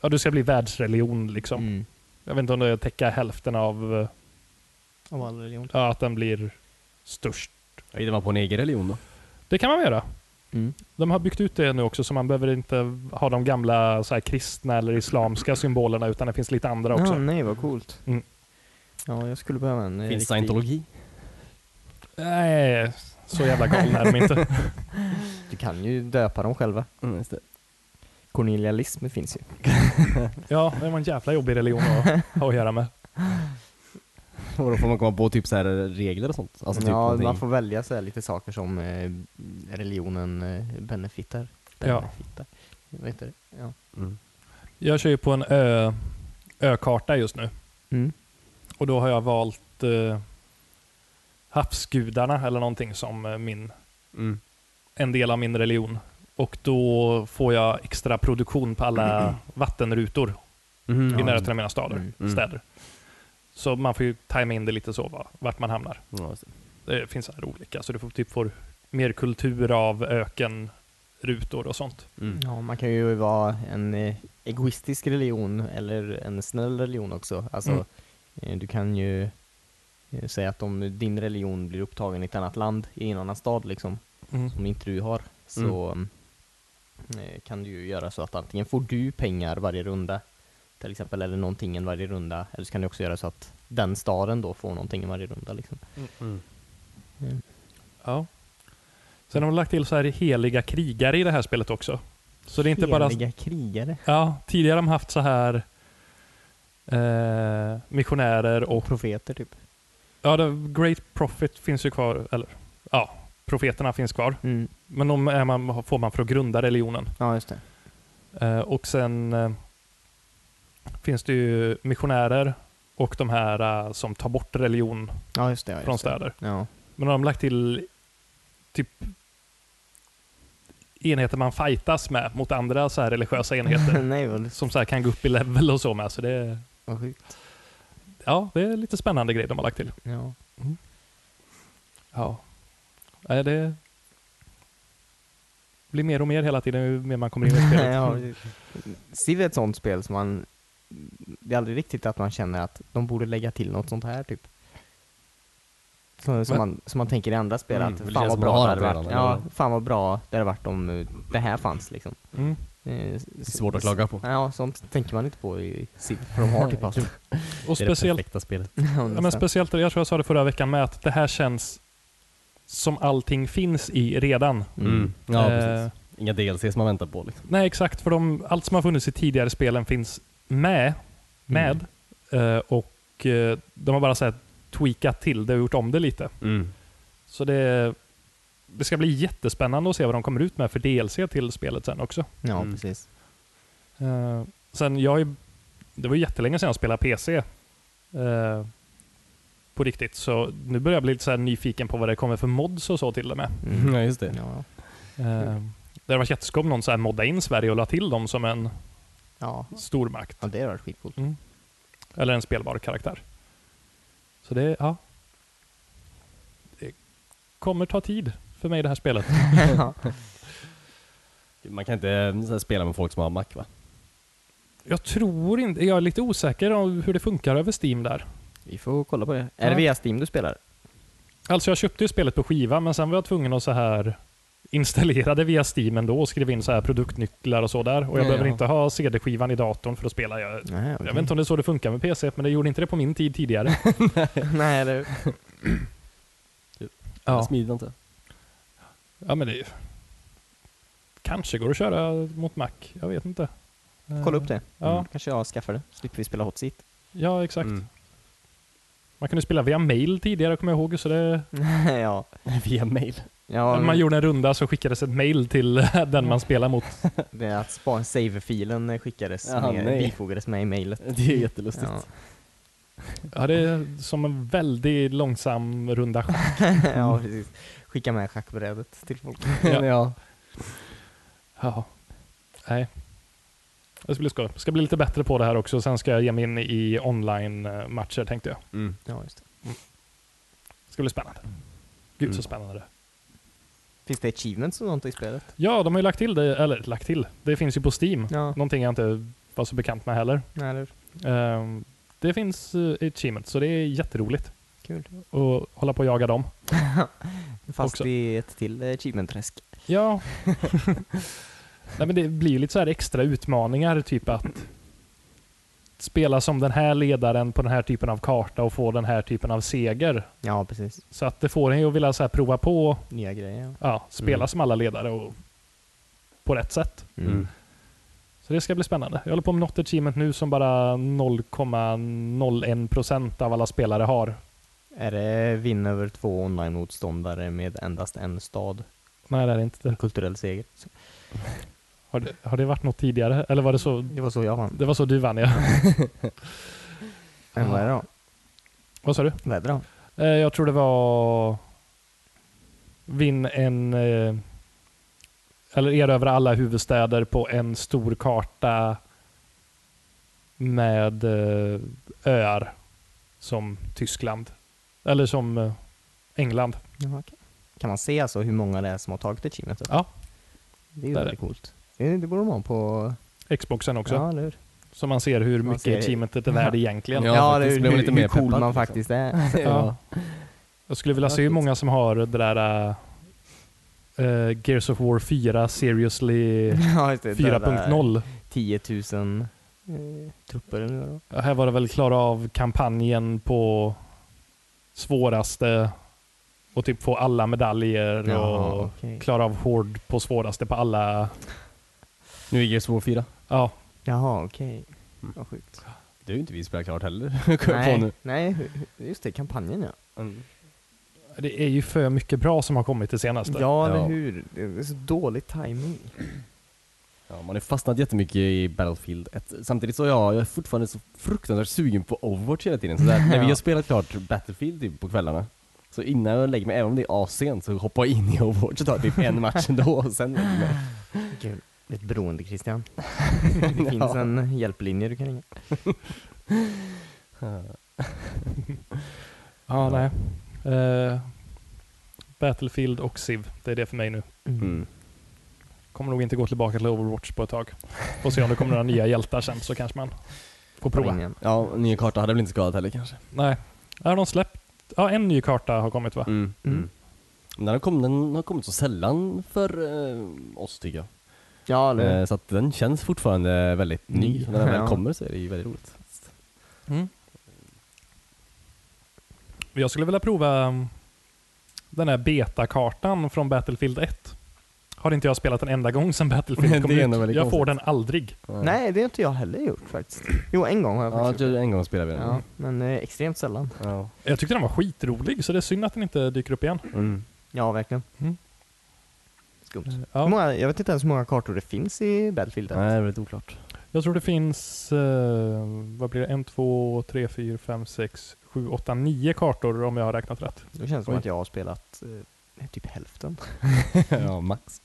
Speaker 2: Ja, du ska bli världsreligion liksom.
Speaker 3: Mm.
Speaker 2: Jag vet inte om det täcker hälften av... eh,
Speaker 3: Av all religion.
Speaker 2: Ja, att den blir störst.
Speaker 1: Det var på en egen religion då.
Speaker 2: Det kan man göra.
Speaker 3: Mm.
Speaker 2: De har byggt ut det nu också, så man behöver inte ha de gamla så här, kristna eller islamska symbolerna, utan det finns lite andra också.
Speaker 3: Ja, nej vad coolt.
Speaker 2: Mm.
Speaker 3: Ja, jag skulle behöva en eh,
Speaker 1: Finns
Speaker 3: riktig-
Speaker 1: scientologi?
Speaker 2: Nej, så jävla galna är de inte.
Speaker 3: Du kan ju döpa dem själva.
Speaker 1: Mm, just det.
Speaker 3: Cornelialism finns ju.
Speaker 2: Ja, det var en jävla jobbig religion att ha att göra med.
Speaker 1: Och då får man komma på typ så här regler och sånt? Alltså typ
Speaker 3: ja,
Speaker 1: någonting.
Speaker 3: man får välja så här lite saker som eh, religionen eh, benefitar.
Speaker 2: Ja.
Speaker 3: benefitar. Vad heter det? Ja.
Speaker 1: Mm.
Speaker 2: Jag kör ju på en ö, ökarta just nu.
Speaker 3: Mm.
Speaker 2: Och då har jag valt eh, havsgudarna eller någonting som eh, min,
Speaker 1: Mm.
Speaker 2: en del av min religion. Och då får jag extra produktion på alla vattenrutor
Speaker 1: Mhm.
Speaker 2: i
Speaker 1: Ja.
Speaker 2: närheten av mina stader,
Speaker 3: Mm.
Speaker 1: Mm.
Speaker 2: städer. Så man får ju tajma in det lite så, va? vart man hamnar.
Speaker 1: Ja, just det.
Speaker 2: Det finns så här olika, så du får, typ får mer kultur av ökenrutor och sånt.
Speaker 1: Mm.
Speaker 3: Ja, man kan ju vara en eh, egoistisk religion eller en snäll religion också. Alltså,
Speaker 2: Mm.
Speaker 3: eh, du kan ju eh, säga att om din religion blir upptagen i ett annat land, i en annan stad liksom, som inte du har, så eh, kan du ju göra så att antingen får du pengar varje runda, till exempel, eller någonting en varje runda, eller så kan du också göra så att den staden då får någonting en varje runda liksom.
Speaker 2: Mm.
Speaker 3: Eh,
Speaker 2: Ja. Sen har de lagt till så här heliga krigare i det här spelet också. Så det är inte bara...
Speaker 3: Heliga krigare
Speaker 2: Ja, tidigare har de haft så här eh, missionärer och
Speaker 3: och profeter typ.
Speaker 2: Ja, the Great Prophet finns ju kvar. Eller, ja, profeterna finns kvar.
Speaker 3: Mm.
Speaker 2: Men de är man, får man för att grunda religionen.
Speaker 3: Ja, just det.
Speaker 2: Eh, och sen eh, finns det ju missionärer och de här eh, som tar bort religion
Speaker 3: Ja, just det. Ja, just
Speaker 2: från
Speaker 3: det.
Speaker 2: städer.
Speaker 3: Ja.
Speaker 2: Men de har lagt till typ enheter man fightas med mot andra så här religiösa enheter.
Speaker 3: Nej, vad,
Speaker 2: som så här kan gå upp i level och så med. Så det, är-
Speaker 3: vad sjukt.
Speaker 2: ja, det är lite spännande grejer de har lagt till.
Speaker 3: Ja.
Speaker 2: Ja. Nej, det blir mer och mer hela tiden ju mer man kommer in i spelet.
Speaker 3: ja, precis. Civ är ett sånt spel som man... Det är aldrig riktigt att man känner att de borde lägga till något sånt här typ. Som, som,
Speaker 2: Va?
Speaker 3: man, som man tänker i andra spel
Speaker 1: Mm,
Speaker 3: att
Speaker 1: det känns
Speaker 3: fan vad
Speaker 1: som man
Speaker 3: bra
Speaker 1: har
Speaker 3: det hade
Speaker 1: det
Speaker 3: varit. Ja,
Speaker 1: redan.
Speaker 3: fan vad bra det hade varit om eh, det här fanns liksom.
Speaker 2: Mm.
Speaker 3: Eh, så-
Speaker 1: Svårt att klaga på.
Speaker 3: Ja, sånt tänker man inte på i Civ, för de har typ allt.
Speaker 2: Och
Speaker 1: Det är det
Speaker 2: speciellt,
Speaker 1: perfekta spelet.
Speaker 2: ja, men speciellt, jag tror jag sa det förra veckan med, att det här känns som allting finns i redan.
Speaker 3: Mm.
Speaker 1: Ja,
Speaker 2: Eh,
Speaker 1: precis. Inga DLCs man väntar på liksom.
Speaker 2: Nej, exakt. För de, allt som har funnits i tidigare spelen finns med.
Speaker 3: Mm.
Speaker 1: Mm.
Speaker 2: med eh, och eh, de har bara så här tweakat till det och gjort om det lite.
Speaker 1: Mm.
Speaker 2: Så det, det ska bli jättespännande att se vad de kommer ut med för DLC till spelet sen också.
Speaker 3: Ja,
Speaker 1: Mm.
Speaker 3: precis.
Speaker 2: Eh, sen jag, är- det var ju jättelänge sedan jag spelade PC. eh, på riktigt, så nu börjar jag bli lite så här nyfiken på vad det kommer för mods och så till och med.
Speaker 3: Mm.
Speaker 1: Ja, just det.
Speaker 3: Ja,
Speaker 2: Eh, det hade varit jätteskoj om någon så här modda in Sverige och la till dem som en
Speaker 3: ja.
Speaker 2: stormakt.
Speaker 3: ja, det hade varit skitcoolt.
Speaker 2: Eller en spelbar karaktär. Så det, ja. Det kommer ta tid för mig det här spelet.
Speaker 1: Man kan inte eh, så här, spela med folk som har Mac va?
Speaker 2: Jag tror inte, jag är lite osäker om hur det funkar över Steam där.
Speaker 3: Vi får kolla på det.
Speaker 2: Ja.
Speaker 3: Är det via Steam du spelar?
Speaker 2: Alltså jag köpte ju spelet på skiva men sen var jag tvungen att så här installera det via Steam ändå och skriva in så här produktnycklar och så där. Och jag
Speaker 3: Ja,
Speaker 2: behöver
Speaker 3: ja. Mm.
Speaker 2: inte ha CD-skivan i datorn för att spela. Jag,
Speaker 3: Nej,
Speaker 2: jag vet inte om det är så det funkar med PC, men det gjorde inte det på min tid tidigare.
Speaker 3: Nej, eller
Speaker 1: Ja.
Speaker 2: ja.
Speaker 1: Smidigt antar jag.
Speaker 2: ja, men det är ju... Kanske går det att köra mot Mac. Jag vet inte.
Speaker 3: Kolla
Speaker 2: Eh,
Speaker 3: upp det. Mm.
Speaker 2: Ja,
Speaker 3: Kanske jag skaffar det. Slipper vi spela Hot Seat.
Speaker 2: Eh, ja exakt.
Speaker 1: Mm.
Speaker 2: Man kunde spela via mail tidigare kommer jag ihåg. Så det,
Speaker 1: Mm.
Speaker 3: ja.
Speaker 1: Via mail.
Speaker 3: ja
Speaker 2: Man gjorde en runda så skickades ett mail till den man spelar mot.
Speaker 3: Det är att spa- save-filen eh, skickades,
Speaker 1: Jaha,
Speaker 3: med,
Speaker 1: nej.
Speaker 3: bifogades med i mejlet.
Speaker 1: Det är jättelustigt.
Speaker 3: Ja.
Speaker 2: Ja, det är som en väldigt långsam runda
Speaker 3: ja, precis. Skicka med schackbrädet till folk.
Speaker 2: Ja.
Speaker 1: ja.
Speaker 2: Ja. Nej. Det ska bli skoj. Ska bli lite bättre på det här också. Sen ska jag ge mig in i online-matcher tänkte jag.
Speaker 1: Mm.
Speaker 3: Ja, just det.
Speaker 2: Det ska bli spännande. Gud så
Speaker 1: Mm.
Speaker 2: spännande det är.
Speaker 3: Finns det achievements och sånt i spelet?
Speaker 2: Ja, de har ju lagt till det. Eller lagt till. Det finns ju på Steam.
Speaker 3: Ja,
Speaker 2: Någonting jag inte var så bekant med heller.
Speaker 3: nej, eller
Speaker 2: Ehm, det finns uh, achievements, så det är jätteroligt
Speaker 3: Kul.
Speaker 2: att hålla på och jaga dem.
Speaker 3: Fast
Speaker 2: Också.
Speaker 3: i ett till eh, achievement-träsk.
Speaker 2: Ja. Nej, men det blir ju lite så här extra utmaningar, typ att spela som den här ledaren på den här typen av karta och få den här typen av seger.
Speaker 3: Ja, precis.
Speaker 2: Så att det får en ju att vilja så här prova på
Speaker 3: Nya grejer.
Speaker 2: ja, spela
Speaker 1: Mm.
Speaker 2: som alla ledare och på rätt sätt.
Speaker 3: Ja.
Speaker 1: Mm.
Speaker 2: Så det ska bli spännande. Jag håller på med något achievement nu som bara 0,01% av alla spelare har.
Speaker 3: Är det vinn över två online-motståndare med endast en stad?
Speaker 2: Nej, det är inte det.
Speaker 3: Kulturell seger.
Speaker 2: Har det, har det varit något tidigare? Eller var det så?
Speaker 3: Det var så jag vann.
Speaker 2: Det var så du vann ja.
Speaker 3: Men vad är det då?
Speaker 2: Vad sa du?
Speaker 3: Vad är det då?
Speaker 2: Eh, Jag tror det var vinn en eh, eller erövra alla huvudstäder på en stor karta med eh, öar. som Tyskland. Eller som eh, England.
Speaker 3: Jaha, okej. Kan man se alltså hur många det är som har tagit achievementet?
Speaker 2: Ja.
Speaker 3: Det är ju
Speaker 2: där är
Speaker 3: väldigt coolt. Det det borde de ha på...
Speaker 2: Xboxen också.
Speaker 3: Ja, eller hur?
Speaker 2: Så man ser hur
Speaker 3: Man
Speaker 2: mycket
Speaker 3: ser-
Speaker 2: achievementet är värd egentligen.
Speaker 1: Ja, faktiskt.
Speaker 3: hur,
Speaker 1: Blir man
Speaker 3: hur,
Speaker 1: lite
Speaker 3: hur
Speaker 1: mer
Speaker 3: cool
Speaker 1: peppad,
Speaker 3: man
Speaker 1: liksom.
Speaker 3: faktiskt är.
Speaker 2: Ja. Jag skulle vilja se hur många som har det där eh, Gears of War 4 Seriously
Speaker 3: Ja, just det. Det där
Speaker 2: 4.0.
Speaker 3: 10 000 eh, trupper eller vad det var.
Speaker 2: Ja, Här var det väl klara av kampanjen på svåraste och typ få alla medaljer
Speaker 3: Jaha,
Speaker 2: och
Speaker 3: okej.
Speaker 2: klara av hård på svåraste på alla.
Speaker 1: Nu är Gears of War 4.
Speaker 2: Ja,
Speaker 3: Jaha, okej. Vad sjukt.
Speaker 1: Det är ju inte vi spelat klart heller. Kom jag på
Speaker 3: Nej,
Speaker 1: nu.
Speaker 3: nej, hu- hu- just det, kampanjen ja.
Speaker 1: Mm.
Speaker 2: det är ju för mycket bra som har kommit det senaste.
Speaker 3: Ja, eller
Speaker 1: Ja.
Speaker 3: hur? Det är så dålig timing.
Speaker 1: Ja, man har fastnat jättemycket i Battlefield 1. Samtidigt så ja, jag är fortfarande så fruktansvärt sugen på Overwatch hela tiden. Så där, när vi har spelat klart Battlefield typ, på kvällarna, så innan jag lägger mig, även om det är assent, så hoppar jag in i Overwatch och tar typ en match ändå och sen lägger jag mig.
Speaker 3: Gud, ett beroende Christian. Det finns en hjälplinje du kan ringa.
Speaker 2: Ja, nej. Eh, Battlefield och Civ, det är det för mig nu.
Speaker 1: Mm.
Speaker 2: Kommer nog inte gå tillbaka till Overwatch på ett tag. Får se om det kommer några nya hjältar sen så kanske man får prova.
Speaker 3: Ringen.
Speaker 1: Ja, nya karta hade väl inte skadat heller kanske.
Speaker 2: Nej. Har de släppt? Ja, en ny karta har kommit va?
Speaker 1: Mm.
Speaker 3: Mm.
Speaker 1: Men Den, har kommit, den har kommit så sällan för eh, oss tycker jag.
Speaker 3: Ja, eller hur?
Speaker 1: Eh, så att den känns fortfarande väldigt ny.
Speaker 3: Ny.
Speaker 1: När den väl
Speaker 3: Ja.
Speaker 1: kommer så är det ju väldigt roligt. Mm.
Speaker 2: Jag skulle vilja prova mm, den här betakartan från Battlefield 1. Har inte jag spelat en enda gång sedan
Speaker 1: Det
Speaker 2: Battlefield
Speaker 1: är
Speaker 2: kom
Speaker 1: nog
Speaker 2: ut.
Speaker 1: väldigt
Speaker 2: Jag får
Speaker 1: konstigt.
Speaker 2: den aldrig.
Speaker 3: Nej, det har inte jag heller gjort faktiskt. Jo, en gång har jag
Speaker 1: Ja,
Speaker 3: faktiskt gjort
Speaker 1: du, en gång spelade
Speaker 3: det.
Speaker 1: vi den.
Speaker 3: Ja, men eh, extremt sällan.
Speaker 1: Ja.
Speaker 2: Jag tyckte den var skitrolig så det är synd att den inte dyker upp igen.
Speaker 1: Mm.
Speaker 3: Ja, verkligen.
Speaker 2: Mm.
Speaker 3: Skumt. Hur
Speaker 2: Ja,
Speaker 3: många, jag vet inte ens hur många kartor det finns i Battlefield.
Speaker 1: Nej, det är väldigt oklart.
Speaker 2: jag tror det finns, eh, vad blir det, en, två, tre, fyra, fem, sex, sju, åtta, nio kartor om jag har räknat rätt.
Speaker 3: Det känns som
Speaker 1: Oj.
Speaker 3: att jag har spelat eh, typ hälften.
Speaker 1: ja, max.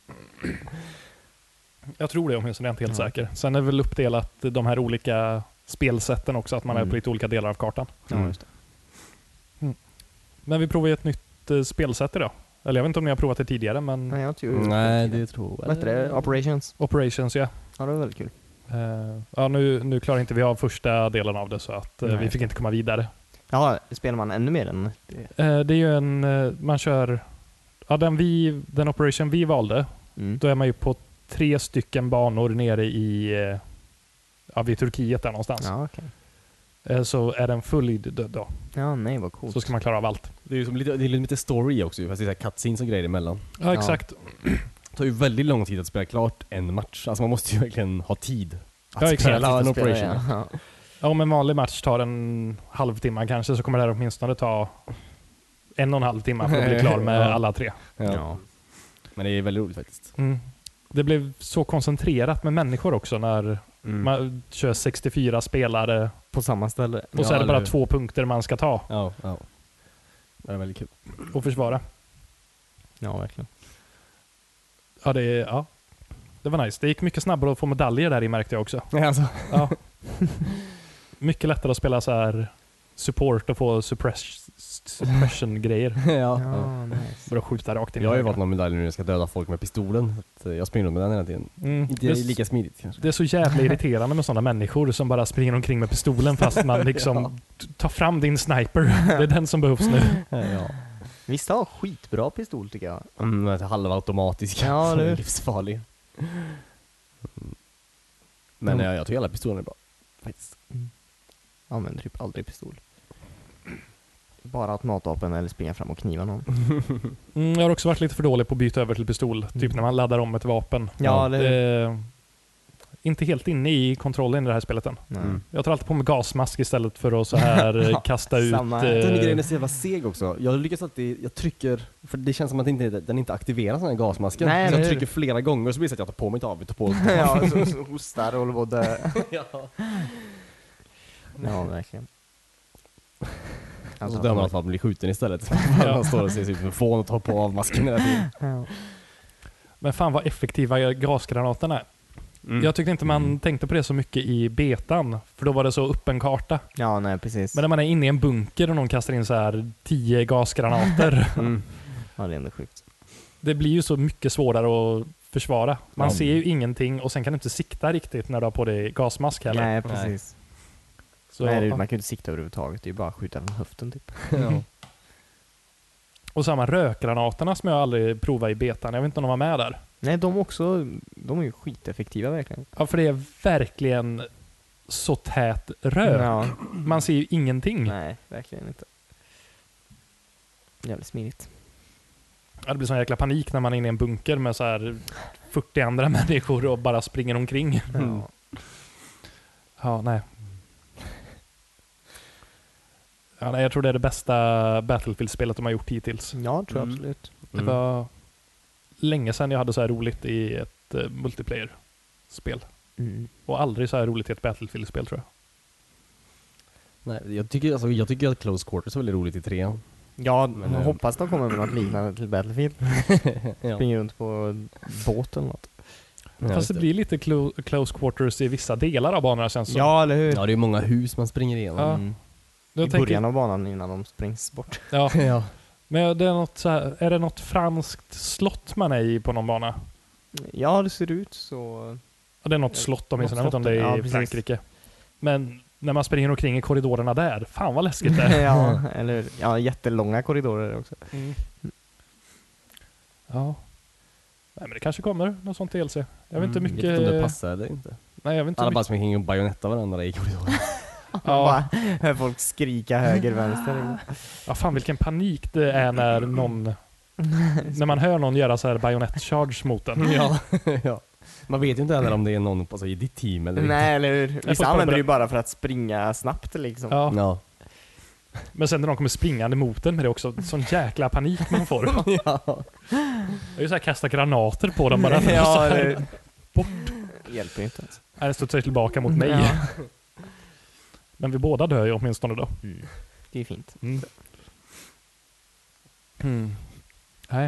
Speaker 2: Jag tror det om jag är
Speaker 1: Mm.
Speaker 2: inte helt
Speaker 3: Ja.
Speaker 2: säker. Sen är det väl uppdelat de här olika spelsätten också, att man är
Speaker 1: Mm.
Speaker 2: på lite olika delar av kartan.
Speaker 1: Mm.
Speaker 3: det.
Speaker 2: Men vi provar ju ett nytt eh, spelsätt idag. Eller jag vet inte om ni har provat det tidigare, men
Speaker 3: Nej, jag har inte gjort
Speaker 1: Mm. Nej, det tror jag.
Speaker 3: Vad hette det? Operations?
Speaker 2: Operations ja.
Speaker 3: Ja, det var väldigt kul.
Speaker 2: Eh, ja nu, nu klarar inte vi av första delen av det så att eh,
Speaker 3: Nej.
Speaker 2: vi fick inte komma vidare.
Speaker 3: Jaha, spelar man ännu mer än det?
Speaker 2: Eh, det är ju en, eh, man kör, ja den, vi, den operation vi valde,
Speaker 3: Mm.
Speaker 2: då är man ju på tre stycken banor nere i, eh, ja vid Turkiet där någonstans.
Speaker 3: Ja, okej.
Speaker 2: Eh, så är den följd då, då.
Speaker 3: Ja, nej vad coolt.
Speaker 2: Så ska man klara av allt.
Speaker 1: Det är ju som lite, det är lite story också ju, fast det är såhär cutscenes och grejer emellan.
Speaker 2: Ja exakt.
Speaker 1: Det tar ju väldigt lång tid att spela klart en match. Alltså man måste ju verkligen ha tid. Att
Speaker 2: Ja, exakt.
Speaker 1: spela en
Speaker 3: Att spela,
Speaker 1: operation.
Speaker 3: ja. Ja.
Speaker 2: Om en vanlig match tar en halvtimme kanske så kommer det här åtminstone ta en och en halv timme för att bli klar med
Speaker 1: Ja.
Speaker 2: alla tre.
Speaker 1: Ja. Men det är väldigt roligt faktiskt.
Speaker 2: Mm. Det blev så koncentrerat med människor också när
Speaker 1: Mm. Man-
Speaker 2: man kör 64 spelare
Speaker 3: På samma ställe.
Speaker 2: och så
Speaker 1: Ja,
Speaker 2: är det bara
Speaker 1: eller hur.
Speaker 2: två punkter man ska ta
Speaker 1: Ja, ja. Det är väldigt kul.
Speaker 2: och försvara.
Speaker 3: Ja, verkligen.
Speaker 2: Ja, det, är- ja. det var nice. Det gick mycket snabbare att få medaljer där i märkte jag också.
Speaker 1: Alltså.
Speaker 2: Ja. mycket lättare att spela så här support och få suppress, suppression-grejer.
Speaker 1: ja. ja.
Speaker 3: Ja, nice.
Speaker 2: Bara skjuta rakt in i
Speaker 1: Jag har ju
Speaker 2: högra.
Speaker 1: valt någon medalj nu när jag ska döda folk med pistolen. Så att eh, jag springer runt med den hela tiden.
Speaker 2: Mm.
Speaker 1: Inte
Speaker 2: Det, är,
Speaker 1: lika smidigt kanske.
Speaker 2: det är så jävla irriterande med sådana människor som bara springer omkring med pistolen fast man liksom tar fram din sniper. Det är den som behövs nu.
Speaker 1: Ja.
Speaker 3: Vissa har skitbra pistol tycker jag.
Speaker 1: Mm, den här halvautomatiska.
Speaker 3: Ja,
Speaker 1: som
Speaker 3: det-
Speaker 1: är livsfarlig. Mm. Men
Speaker 2: Mm.
Speaker 1: eh, jag tycker alla pistoler är bra. Faktiskt.
Speaker 3: Jag använder typ aldrig pistol. Bara automatvapen eller springa fram och kniva någon.
Speaker 2: Mm, jag har också varit lite för dålig på att byta över till pistol.
Speaker 1: Mm.
Speaker 2: Typ när man laddar om ett vapen.
Speaker 1: Ja,
Speaker 3: eller hur?
Speaker 2: Eh, inte helt inne i kontrollen i det här spelet än.
Speaker 3: Nej.
Speaker 1: Mm.
Speaker 2: Jag tar alltid på mig gasmask istället för att så här eh, kasta ut...
Speaker 3: Samma.
Speaker 2: eh,
Speaker 1: Den grejen är så jävla seg också. Jag lyckas alltid, jag trycker, för det känns som att inte, den inte aktiverar den här gasmasken. så
Speaker 3: Nej, eller
Speaker 1: jag
Speaker 3: hur?
Speaker 1: trycker flera gånger så blir det så att jag tar på mig, tar av mig, tar på mig.
Speaker 3: ja, så, så hostar och håller på att dö.
Speaker 1: ja.
Speaker 3: Ja, verkligen. Alltså,
Speaker 1: Och så dömer man att man blir skjuten istället. Man står och ser sig ut som en fån och tar på av masken hela tiden.
Speaker 3: Ja.
Speaker 2: Men fan vad effektiva gasgranaterna är.
Speaker 1: Mm.
Speaker 2: Jag tyckte inte man tänkte på det så mycket i betan, för då var det så öppen karta.
Speaker 3: Ja, nej precis.
Speaker 2: Men när man är inne i en bunker och någon kastar in så här 10 gasgranater,
Speaker 1: Mm.
Speaker 3: Ja, det är ändå sjukt.
Speaker 2: det blir ju så mycket svårare att försvara. Man
Speaker 1: Ja.
Speaker 2: ser ju ingenting och sen kan du inte sikta riktigt när du har på dig gasmask heller.
Speaker 3: Nej, precis.
Speaker 2: Så,
Speaker 3: nej, det,
Speaker 2: ja.
Speaker 3: man kan ju inte sikta överhuvudtaget. Det är ju bara att skjuta från höften typ.
Speaker 1: ja.
Speaker 2: Och samma rökgranaterna som jag aldrig provade i betan. Jag vet inte om de var med där.
Speaker 3: Nej, de också, de är ju skiteffektiva verkligen.
Speaker 2: Ja, för det är verkligen så tät rök.
Speaker 3: Ja,
Speaker 2: Man ser ju ingenting.
Speaker 3: nej, verkligen inte. Jävligt smidigt.
Speaker 2: Ja, Det blir sån jäkla panik när man är inne i en bunker med så här 40 andra människor och bara springer omkring.
Speaker 1: Mm.
Speaker 3: Ja.
Speaker 2: Ja, nej. Ja, nej jag tror det är det bästa Battlefield-spelet de har gjort hittills.
Speaker 3: Ja, tror jag
Speaker 1: Mm.
Speaker 3: absolut.
Speaker 2: Det var länge sedan jag hade så här roligt i ett eh, multiplayer-spel.
Speaker 3: Mm.
Speaker 2: Och aldrig så här roligt i ett Battlefield-spel tror jag.
Speaker 1: Nej, jag, tycker, alltså, jag tycker att Close Quarters är väldigt roligt i trean.
Speaker 3: Ja,
Speaker 1: Men,
Speaker 3: jag
Speaker 1: eh,
Speaker 3: hoppas de kommer med något liknande till Battlefield.
Speaker 1: ja.
Speaker 3: Springer runt på båt eller något.
Speaker 2: Fast det blir lite clo- close quarters i vissa delar av banorna känns som.
Speaker 3: Ja, eller hur?
Speaker 1: ja, det är många hus man springer igenom.
Speaker 2: Ja.
Speaker 3: Mm.
Speaker 2: Jag
Speaker 3: I
Speaker 2: tänker-
Speaker 3: början av banan innan de sprängs bort.
Speaker 2: Ja,
Speaker 1: ja.
Speaker 2: men det är, något så här, är det något franskt slott man är i på någon bana?
Speaker 3: Ja, det ser ut så.
Speaker 2: Ja, det är något slott åtminstone, jag vet
Speaker 3: Något
Speaker 2: inte om det är
Speaker 3: slott, ja,
Speaker 2: i
Speaker 3: precis.
Speaker 2: Frankrike. Men när man springer omkring i korridorerna där, fan vad läskigt det är.
Speaker 3: ja, eller hur? Ja, jättelånga korridorer också.
Speaker 2: Ja. Nej, men det kanske kommer något sånt DLC. Jag vet
Speaker 3: Mm,
Speaker 2: inte
Speaker 1: Jag vet
Speaker 2: mycket...
Speaker 1: inte om det passar eller inte.
Speaker 2: Nej, jag vet inte
Speaker 1: Alla
Speaker 2: mycket.
Speaker 1: bara springer in och bajonettar varandra i korridoren.
Speaker 2: Ja.
Speaker 3: Bara hör folk skrika höger, vänster.
Speaker 2: ja, fan vilken panik det är när någon... när man hör någon göra så här bajonett-charge mot en.
Speaker 1: ja. ja. Man vet ju inte heller om det är någon alltså, i ditt team eller inte.
Speaker 3: Nej, eller hur?
Speaker 2: folk
Speaker 3: Vissa använder
Speaker 2: bara-
Speaker 3: det ju bara för att springa snabbt liksom.
Speaker 2: Ja.
Speaker 1: Ja.
Speaker 2: Men sen när de kommer springande mot en med det också, sån jäkla panik man får.
Speaker 1: ja.
Speaker 2: Det är ju såhär kasta granater på dem bara. så
Speaker 3: ja
Speaker 2: här,
Speaker 3: eller hur?
Speaker 2: bort.
Speaker 3: Hjälper ju inte ens.
Speaker 2: Nej, det studsar ju tillbaka mot mig.
Speaker 3: Ja.
Speaker 2: Men vi båda dör ju åtminstone då.
Speaker 3: Mm.
Speaker 2: Mm.
Speaker 3: Det är ju fint. Mm.
Speaker 2: Nej.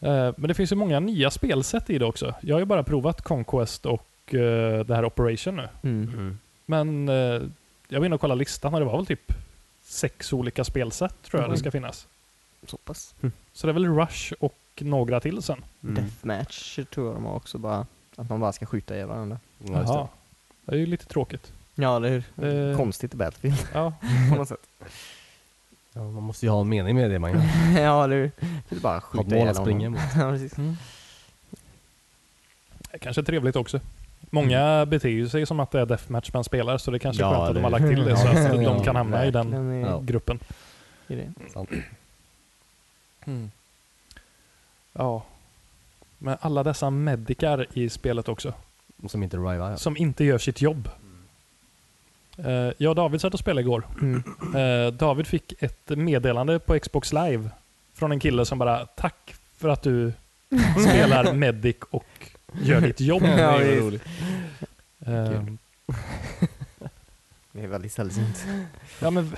Speaker 2: Eh, Men det finns ju många nya spelsätt i det också. Jag har ju bara provat Conquest och eh, det här Operation nu.
Speaker 1: Mm.
Speaker 2: Mm. Men eh, jag var inne och kollade listan och det var väl typ sex olika spelsätt tror jag
Speaker 1: Mm.
Speaker 3: Oj.
Speaker 2: det ska finnas.
Speaker 3: Så pass.
Speaker 2: Så det är väl Rush och några till sen.
Speaker 3: Deathmatch tror jag de har också bara. Att man bara ska skjuta ihjäl varandra.
Speaker 1: Ja, just det.
Speaker 2: Det är ju lite tråkigt.
Speaker 3: Ja, eller hur?
Speaker 2: Eh.
Speaker 3: Konstigt i Battlefield
Speaker 2: Ja.
Speaker 3: på något sätt.
Speaker 1: Ja, man måste ju ha en mening med det man gör.
Speaker 3: ja, eller hur? Det är bara att
Speaker 1: Ha ett
Speaker 3: skjuta
Speaker 1: mål
Speaker 3: ihjäl
Speaker 1: att springa
Speaker 3: honom.
Speaker 1: mot.
Speaker 3: Ja, precis.
Speaker 2: Mm. Det kanske är trevligt också. Många beter ju sig som att det är Deathmatch man spelar så det kanske är
Speaker 1: Mm. Ja,
Speaker 2: skönt att de
Speaker 1: det-
Speaker 2: har lagt till det
Speaker 1: Ja,
Speaker 2: så att
Speaker 1: ja,
Speaker 2: de kan hamna i den
Speaker 3: verkligen i-
Speaker 1: Ja.
Speaker 2: gruppen.
Speaker 3: i det.
Speaker 1: Sant. Mm.
Speaker 2: Ja. Men alla dessa medicar i spelet också,
Speaker 1: Som inte rivar.
Speaker 2: som inte gör sitt jobb. Eh, Jag och David satt och spelade igår.
Speaker 3: Mm.
Speaker 2: Eh, David fick ett meddelande på Xbox live från en kille som bara “Tack för att du spelar medic och gör ditt jobb”.
Speaker 3: Ja,
Speaker 2: Eh,
Speaker 3: visst. Det är väldigt sällsynt.
Speaker 2: ja men v-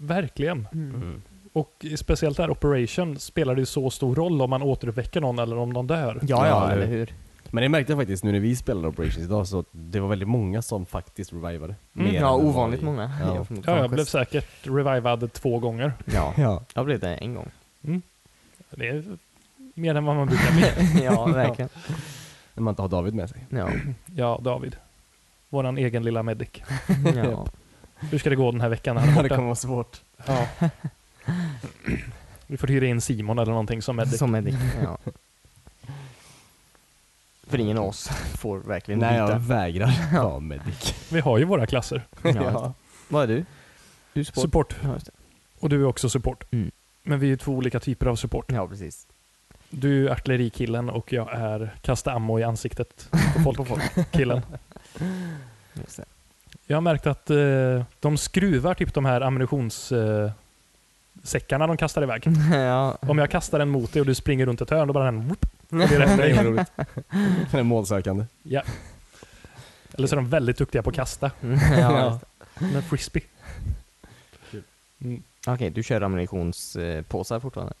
Speaker 2: verkligen.
Speaker 1: Mm.
Speaker 2: Och speciellt där Operation spelar det ju så stor roll om man återuppväcker någon eller om de dör.
Speaker 3: Ja,
Speaker 1: Ja,
Speaker 3: ja,
Speaker 1: eller
Speaker 3: eller hur?
Speaker 1: Men det märkte jag faktiskt nu när vi spelade Operations idag så att det var väldigt många som faktiskt revivade.
Speaker 2: Mm.
Speaker 1: Mer än
Speaker 3: Ja,
Speaker 1: det var
Speaker 3: ovanligt
Speaker 1: i-
Speaker 3: många.
Speaker 1: Ja.
Speaker 3: jämfört med
Speaker 2: Ja, jag
Speaker 3: Conquest.
Speaker 2: blev säkert revivad två gånger.
Speaker 3: Ja,
Speaker 1: Ja.
Speaker 3: jag blev det en gång.
Speaker 2: Det är mer än vad man brukar bli.
Speaker 3: ja, verkligen.
Speaker 1: När man inte har David med sig.
Speaker 3: Ja.
Speaker 2: Ja, David. Våran egen lilla medic.
Speaker 3: ja.
Speaker 2: Hur ska det gå den här veckan när han är
Speaker 1: det
Speaker 2: borta?
Speaker 1: kommer vara svårt.
Speaker 2: Ja. Vi får hyra in Simon eller någonting som medic.
Speaker 3: Som medic. Ja. För ingen av oss får verkligen
Speaker 1: Nej, jag
Speaker 3: byta.
Speaker 1: vägrar vara medic.
Speaker 2: Vi har ju våra klasser.
Speaker 3: Ja. Vad är du? Du är support.
Speaker 2: Support.
Speaker 3: Ja, just det.
Speaker 2: Och du är också support.
Speaker 3: Mm.
Speaker 2: Men vi är ju två olika typer av support.
Speaker 3: ja, precis.
Speaker 2: Du är artillerikillen och jag är kasta ammo i ansiktet på folk. Killen.
Speaker 3: Just det.
Speaker 2: Jag har märkt att eh, de skruvar typ de här ammunitionssäckarna eh, säckarna de kastar iväg.
Speaker 3: Mm. ja.
Speaker 2: Om jag kastar den mot dig och du springer runt ett hörn, då bara den... Whoop, och det är rätt
Speaker 1: Det är
Speaker 2: dig.
Speaker 1: roligt. Den är målsökande.
Speaker 2: Eller så är de väldigt duktiga på att kasta.
Speaker 3: ja just det.
Speaker 2: Med frisbee.
Speaker 3: Okej, du kör ammunitionspåsar fortfarande?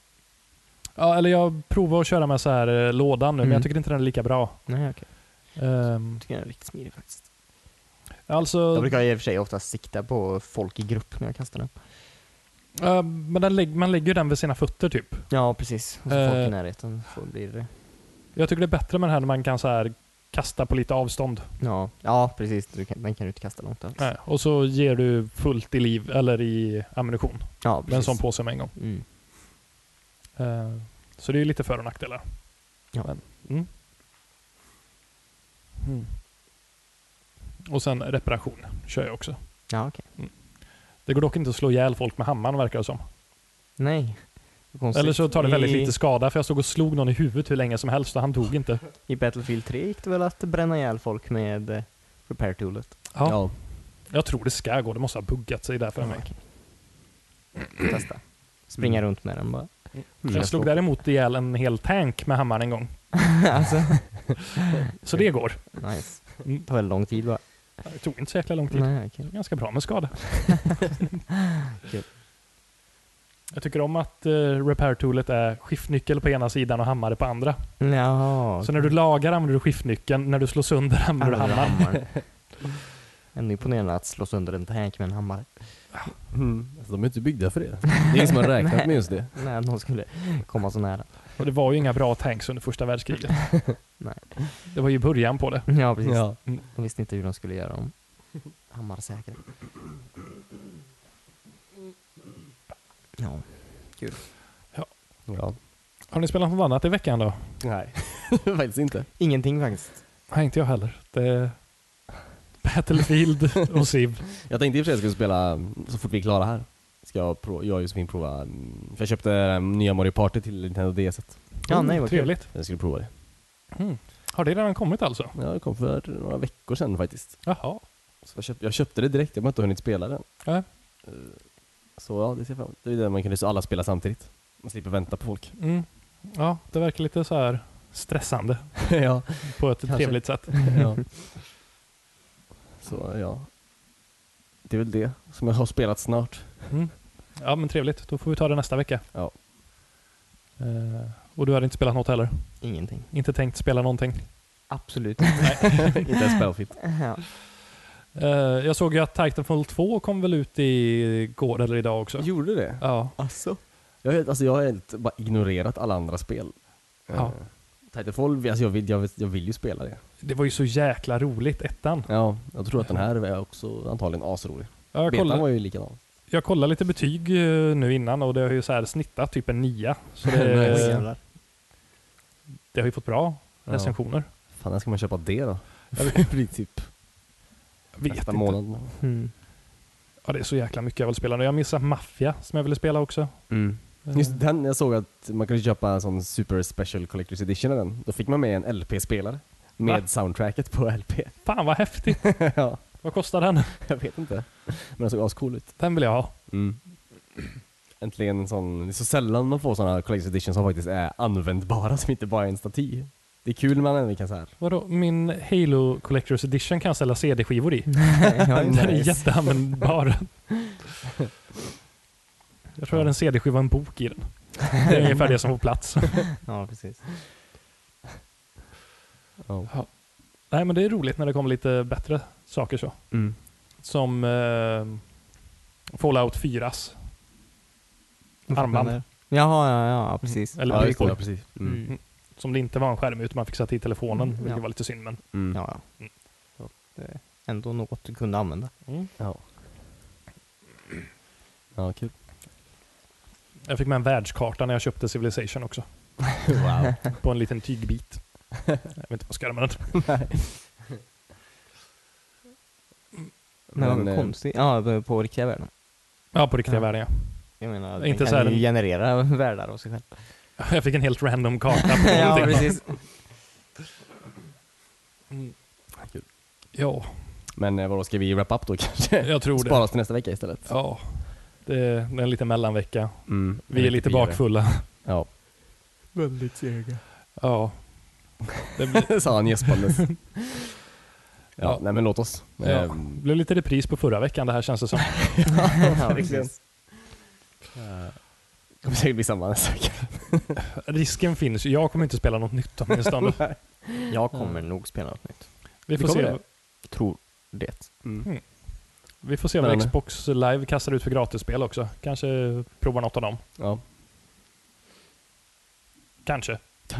Speaker 2: Ja, eller jag provar att köra med så här eh, lådan nu, men
Speaker 3: Mm.
Speaker 2: jag tycker inte den är lika bra.
Speaker 3: Nej, okej.
Speaker 2: Ehm,
Speaker 3: Jag tycker den är riktigt smidig faktiskt.
Speaker 2: alltså,
Speaker 3: Jag brukar i och för sig ofta sikta på folk i grupp när jag kastar den.
Speaker 2: eh, men den lägg, man lägger ju den vid sina fötter typ.
Speaker 3: Ja, precis. Och så folk
Speaker 2: Eh.
Speaker 3: i närheten så blir det...
Speaker 2: Jag tycker det är bättre med den här när man kan så här kasta på lite avstånd.
Speaker 3: Ja, ja precis. Du kan, den kan du inte kasta långt alls.
Speaker 2: Nej, och så ger du fullt i liv, eller i ammunition,
Speaker 3: Ja,
Speaker 2: med en
Speaker 3: precis.
Speaker 2: sån påse med en gång.
Speaker 3: Mm.
Speaker 2: Eh, Så det är ju lite för och nackdelar.
Speaker 3: Ja.
Speaker 2: Men, mm. Mm. Och sen reparation kör jag också.
Speaker 3: Ja, okej.
Speaker 2: Det går dock inte att slå ihjäl folk med hammaren verkar det som.
Speaker 3: Nej. Vad konstigt.
Speaker 2: Eller så tar det väldigt
Speaker 3: I,
Speaker 2: lite skada för jag stod och slog någon i huvudet hur länge som helst och han dog inte.
Speaker 3: I Battlefield 3 gick det väl att bränna ihjäl folk med eh, repair toolet?
Speaker 2: Ja. Jag tror det ska gå, det måste ha buggat sig där för mig. Mm.
Speaker 3: okej. Får Testa. Springa runt med den bara. Mm.
Speaker 2: Jag slog däremot ihjäl en hel tank med hammaren en gång.
Speaker 3: alltså,
Speaker 2: Så det går.
Speaker 3: nice.
Speaker 2: Mm.
Speaker 3: Det tar väldigt lång tid va?
Speaker 2: Det tog inte så jäkla lång tid.
Speaker 3: Nej, okej.
Speaker 2: Ganska bra med skada.
Speaker 3: Kul.
Speaker 2: Jag tycker om att uh, repair toolet är skiftnyckel på ena sidan och hammare på andra.
Speaker 3: Jaha.
Speaker 2: Så när du lagar använder du skiftnyckeln, när du slår sönder använder du
Speaker 3: Använder
Speaker 2: hammaren.
Speaker 3: hammaren. Ändå imponerande att slå sönder en tank med en hammare.
Speaker 1: Alltså, de är inte byggda för det. Det är ingen som har räknat med just det.
Speaker 3: Nej, att någon skulle komma så nära.
Speaker 2: Och det var ju inga bra tanks under första världskriget.
Speaker 3: Nej.
Speaker 2: Det var ju början på det.
Speaker 3: Ja, precis.
Speaker 1: Ja.
Speaker 3: De visste inte hur de skulle göra dem hammarsäkra. Ja.
Speaker 1: ja.
Speaker 2: Har ni spelat något annat i veckan då?
Speaker 1: Nej, faktiskt inte.
Speaker 3: Ingenting faktiskt.
Speaker 2: Nej, inte jag heller. Det är Battlefield och Civ.
Speaker 1: Jag tänkte i och för sig att jag skulle spela mm, så fort vi är klara här. Ska jag, prova, jag och Josefin prova, mm, för jag köpte mm, nya Mario Party till Nintendo DS. -et.
Speaker 3: Ja,
Speaker 2: Mm,
Speaker 3: nej, vad kul.
Speaker 2: Trevligt.
Speaker 1: Jag skulle prova det.
Speaker 2: Mm. Har det redan kommit alltså?
Speaker 1: Ja, det kom för några veckor sedan faktiskt.
Speaker 2: Jaha.
Speaker 1: Så jag, köpte, jag köpte det direkt, jag har inte hunnit spela den. Eh,
Speaker 2: Ja.
Speaker 1: Så ja, det ser jag fram emot. Det är det man kunde så alla spela samtidigt. Man slipper vänta på folk.
Speaker 2: Mm. Ja, det verkar lite så här stressande
Speaker 1: ja.
Speaker 2: på ett
Speaker 1: Kanske.
Speaker 2: trevligt sätt.
Speaker 1: ja. Så ja. Det är väl det som jag har spelat snart.
Speaker 2: Mm. Ja, men trevligt. Då får vi ta det nästa vecka.
Speaker 1: Ja.
Speaker 2: Eh, och du hade inte spelat något heller?
Speaker 3: Ingenting.
Speaker 2: Inte tänkt spela någonting?
Speaker 3: Absolut inte.
Speaker 1: inte ens Battlefield.
Speaker 3: ja.
Speaker 2: Eh, jag såg ju att Titanfall 2 kom väl ut igår eller idag också?
Speaker 1: Gjorde det?
Speaker 2: Ja.
Speaker 3: Alltså.
Speaker 1: Jag, har helt- alltså, jag har helt bara ignorerat alla andra spel.
Speaker 2: Ja.
Speaker 1: Eh, Titanfall, alltså, jag, vill, jag, vill, jag vill ju spela det.
Speaker 2: Det var ju så jäkla roligt, ettan.
Speaker 1: Ja, jag tror att den här är också antagligen asrolig.
Speaker 2: Ja, Jag
Speaker 1: Betan
Speaker 2: kollade,
Speaker 1: var ju likadan.
Speaker 2: jag kollade lite betyg eh, nu innan och det har ju så här snittat typ en nia. Så
Speaker 1: Nice.
Speaker 2: det,
Speaker 3: jävlar.
Speaker 2: det har ju fått bra
Speaker 1: Ja.
Speaker 2: recensioner.
Speaker 1: Fan, när ska man köpa det då?
Speaker 2: Jag
Speaker 1: Det blir typ
Speaker 2: Vet
Speaker 1: nästa
Speaker 2: inte.
Speaker 1: månad.
Speaker 3: Mm.
Speaker 2: Ja, det är så jäkla mycket jag vill spela nu. Jag missar Mafia som jag ville spela också. Eh,
Speaker 1: Just den, jag såg att man kunde köpa en sån super special collector's edition av den. Då fick man med en LP-spelare. Med
Speaker 2: Va?
Speaker 1: soundtracket på LP.
Speaker 2: Fan vad häftigt!
Speaker 1: ja,
Speaker 2: vad kostar den?
Speaker 1: jag vet inte. Men den såg ascool ut.
Speaker 2: Den vill jag ha.
Speaker 1: Mm. Äntligen en sån, det är så sällan man får såna collector's edition som faktiskt är användbara, som inte bara är en staty. Det är kul när man ändå kan såhär,
Speaker 2: Vadå, min Halo Collector's Edition kan jag sälja CD-skivor i.
Speaker 3: ja,
Speaker 2: Den är
Speaker 3: nice.
Speaker 2: jätteanvändbar. Jag tror jag hade en CD-skiva och en bok i den. Det är ungefär det som får plats.
Speaker 3: ja, precis.
Speaker 1: ja.
Speaker 2: Nej men det är roligt när det kommer lite bättre saker så. Som eh, Fallout 4s. Armband.
Speaker 3: Jaha, ja, ja, ja, precis.
Speaker 2: Eller
Speaker 1: ja, just det,
Speaker 2: brukor.
Speaker 1: ja, precis. Mm.
Speaker 3: Mm.
Speaker 2: Som det inte var en skärm utan man fick sätta i telefonen,
Speaker 3: Mm,
Speaker 2: vilket
Speaker 3: ja.
Speaker 2: var lite synd. Men,
Speaker 1: Mm. Ja.
Speaker 3: Ja, ja. Så att, eh, ändå något du kunde använda.
Speaker 1: ja. kul.
Speaker 2: Jag fick med en världskarta när jag köpte Civilization också.
Speaker 1: Wow.
Speaker 2: På en liten tygbit. Jag vet inte vad jag ska göra med den.
Speaker 3: Men,
Speaker 1: eh,
Speaker 3: vad konstigt. Ja, på riktiga världen.
Speaker 2: Ja, på riktiga
Speaker 3: Ja.
Speaker 2: världen ja.
Speaker 3: Jag menar,
Speaker 2: Inte
Speaker 3: den
Speaker 2: så här
Speaker 3: kan ju
Speaker 2: en-
Speaker 3: generera världar av sig själv.
Speaker 2: Jag fick en helt random karta på
Speaker 3: ja,
Speaker 2: någonting.
Speaker 3: precis.
Speaker 2: Mm.
Speaker 1: Kul.
Speaker 2: Ja,
Speaker 1: men eh, vadå, ska vi wrap up då kanske?
Speaker 2: jag tror
Speaker 1: Spara
Speaker 2: det.
Speaker 1: oss till nästa vecka istället.
Speaker 2: Ja, det är det är en liten mellanvecka.
Speaker 1: Mm.
Speaker 2: Vi är lite bakfulla.
Speaker 1: Ja,
Speaker 3: Väldigt sega.
Speaker 2: Ja. Det blir,
Speaker 1: sa han gäspandes. ja,
Speaker 2: Ja.
Speaker 1: nej men låt oss.
Speaker 2: ja.
Speaker 1: Ehm,
Speaker 2: Det blev lite repris på förra veckan det här känns det som.
Speaker 3: ja,
Speaker 1: verkligen.
Speaker 3: precis.
Speaker 1: kommer säkert bli samma nästa vecka.
Speaker 2: Risken finns ju. Jag kommer inte spela något nytt åtminstone.
Speaker 3: Jag kommer nog spela något nytt.
Speaker 2: Vi får,
Speaker 1: Det
Speaker 2: se,
Speaker 1: kommer
Speaker 3: Tror det.
Speaker 1: Mm.
Speaker 2: vi får se vad
Speaker 1: Men-
Speaker 2: Xbox Live kastar ut för gratisspel också. Kanske prova något av dem.
Speaker 1: Ja.
Speaker 2: Kanske.
Speaker 3: Ja.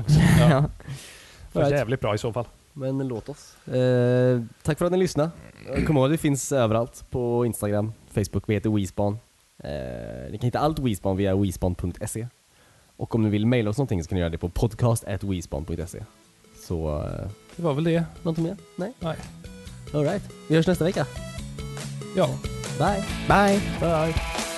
Speaker 2: Det var
Speaker 1: Right.
Speaker 2: jävligt bra i så fall.
Speaker 1: Men låt oss. Eh, tack för att ni lyssnade. Kom ihåg, det finns överallt på Instagram, Facebook. Vi heter WeSpan. Eh, ni kan hitta allt WeSpan via WeSpan.se. Och om ni vill mejla oss någonting så kan ni göra det på podcast.wespan.se. Så, eh,
Speaker 2: Det var väl det.
Speaker 1: någonting mer? Nej?
Speaker 2: Nej.
Speaker 1: Alright. Vi hörs nästa vecka.
Speaker 2: Ja.
Speaker 1: Bye!
Speaker 3: Bye!
Speaker 2: Bye.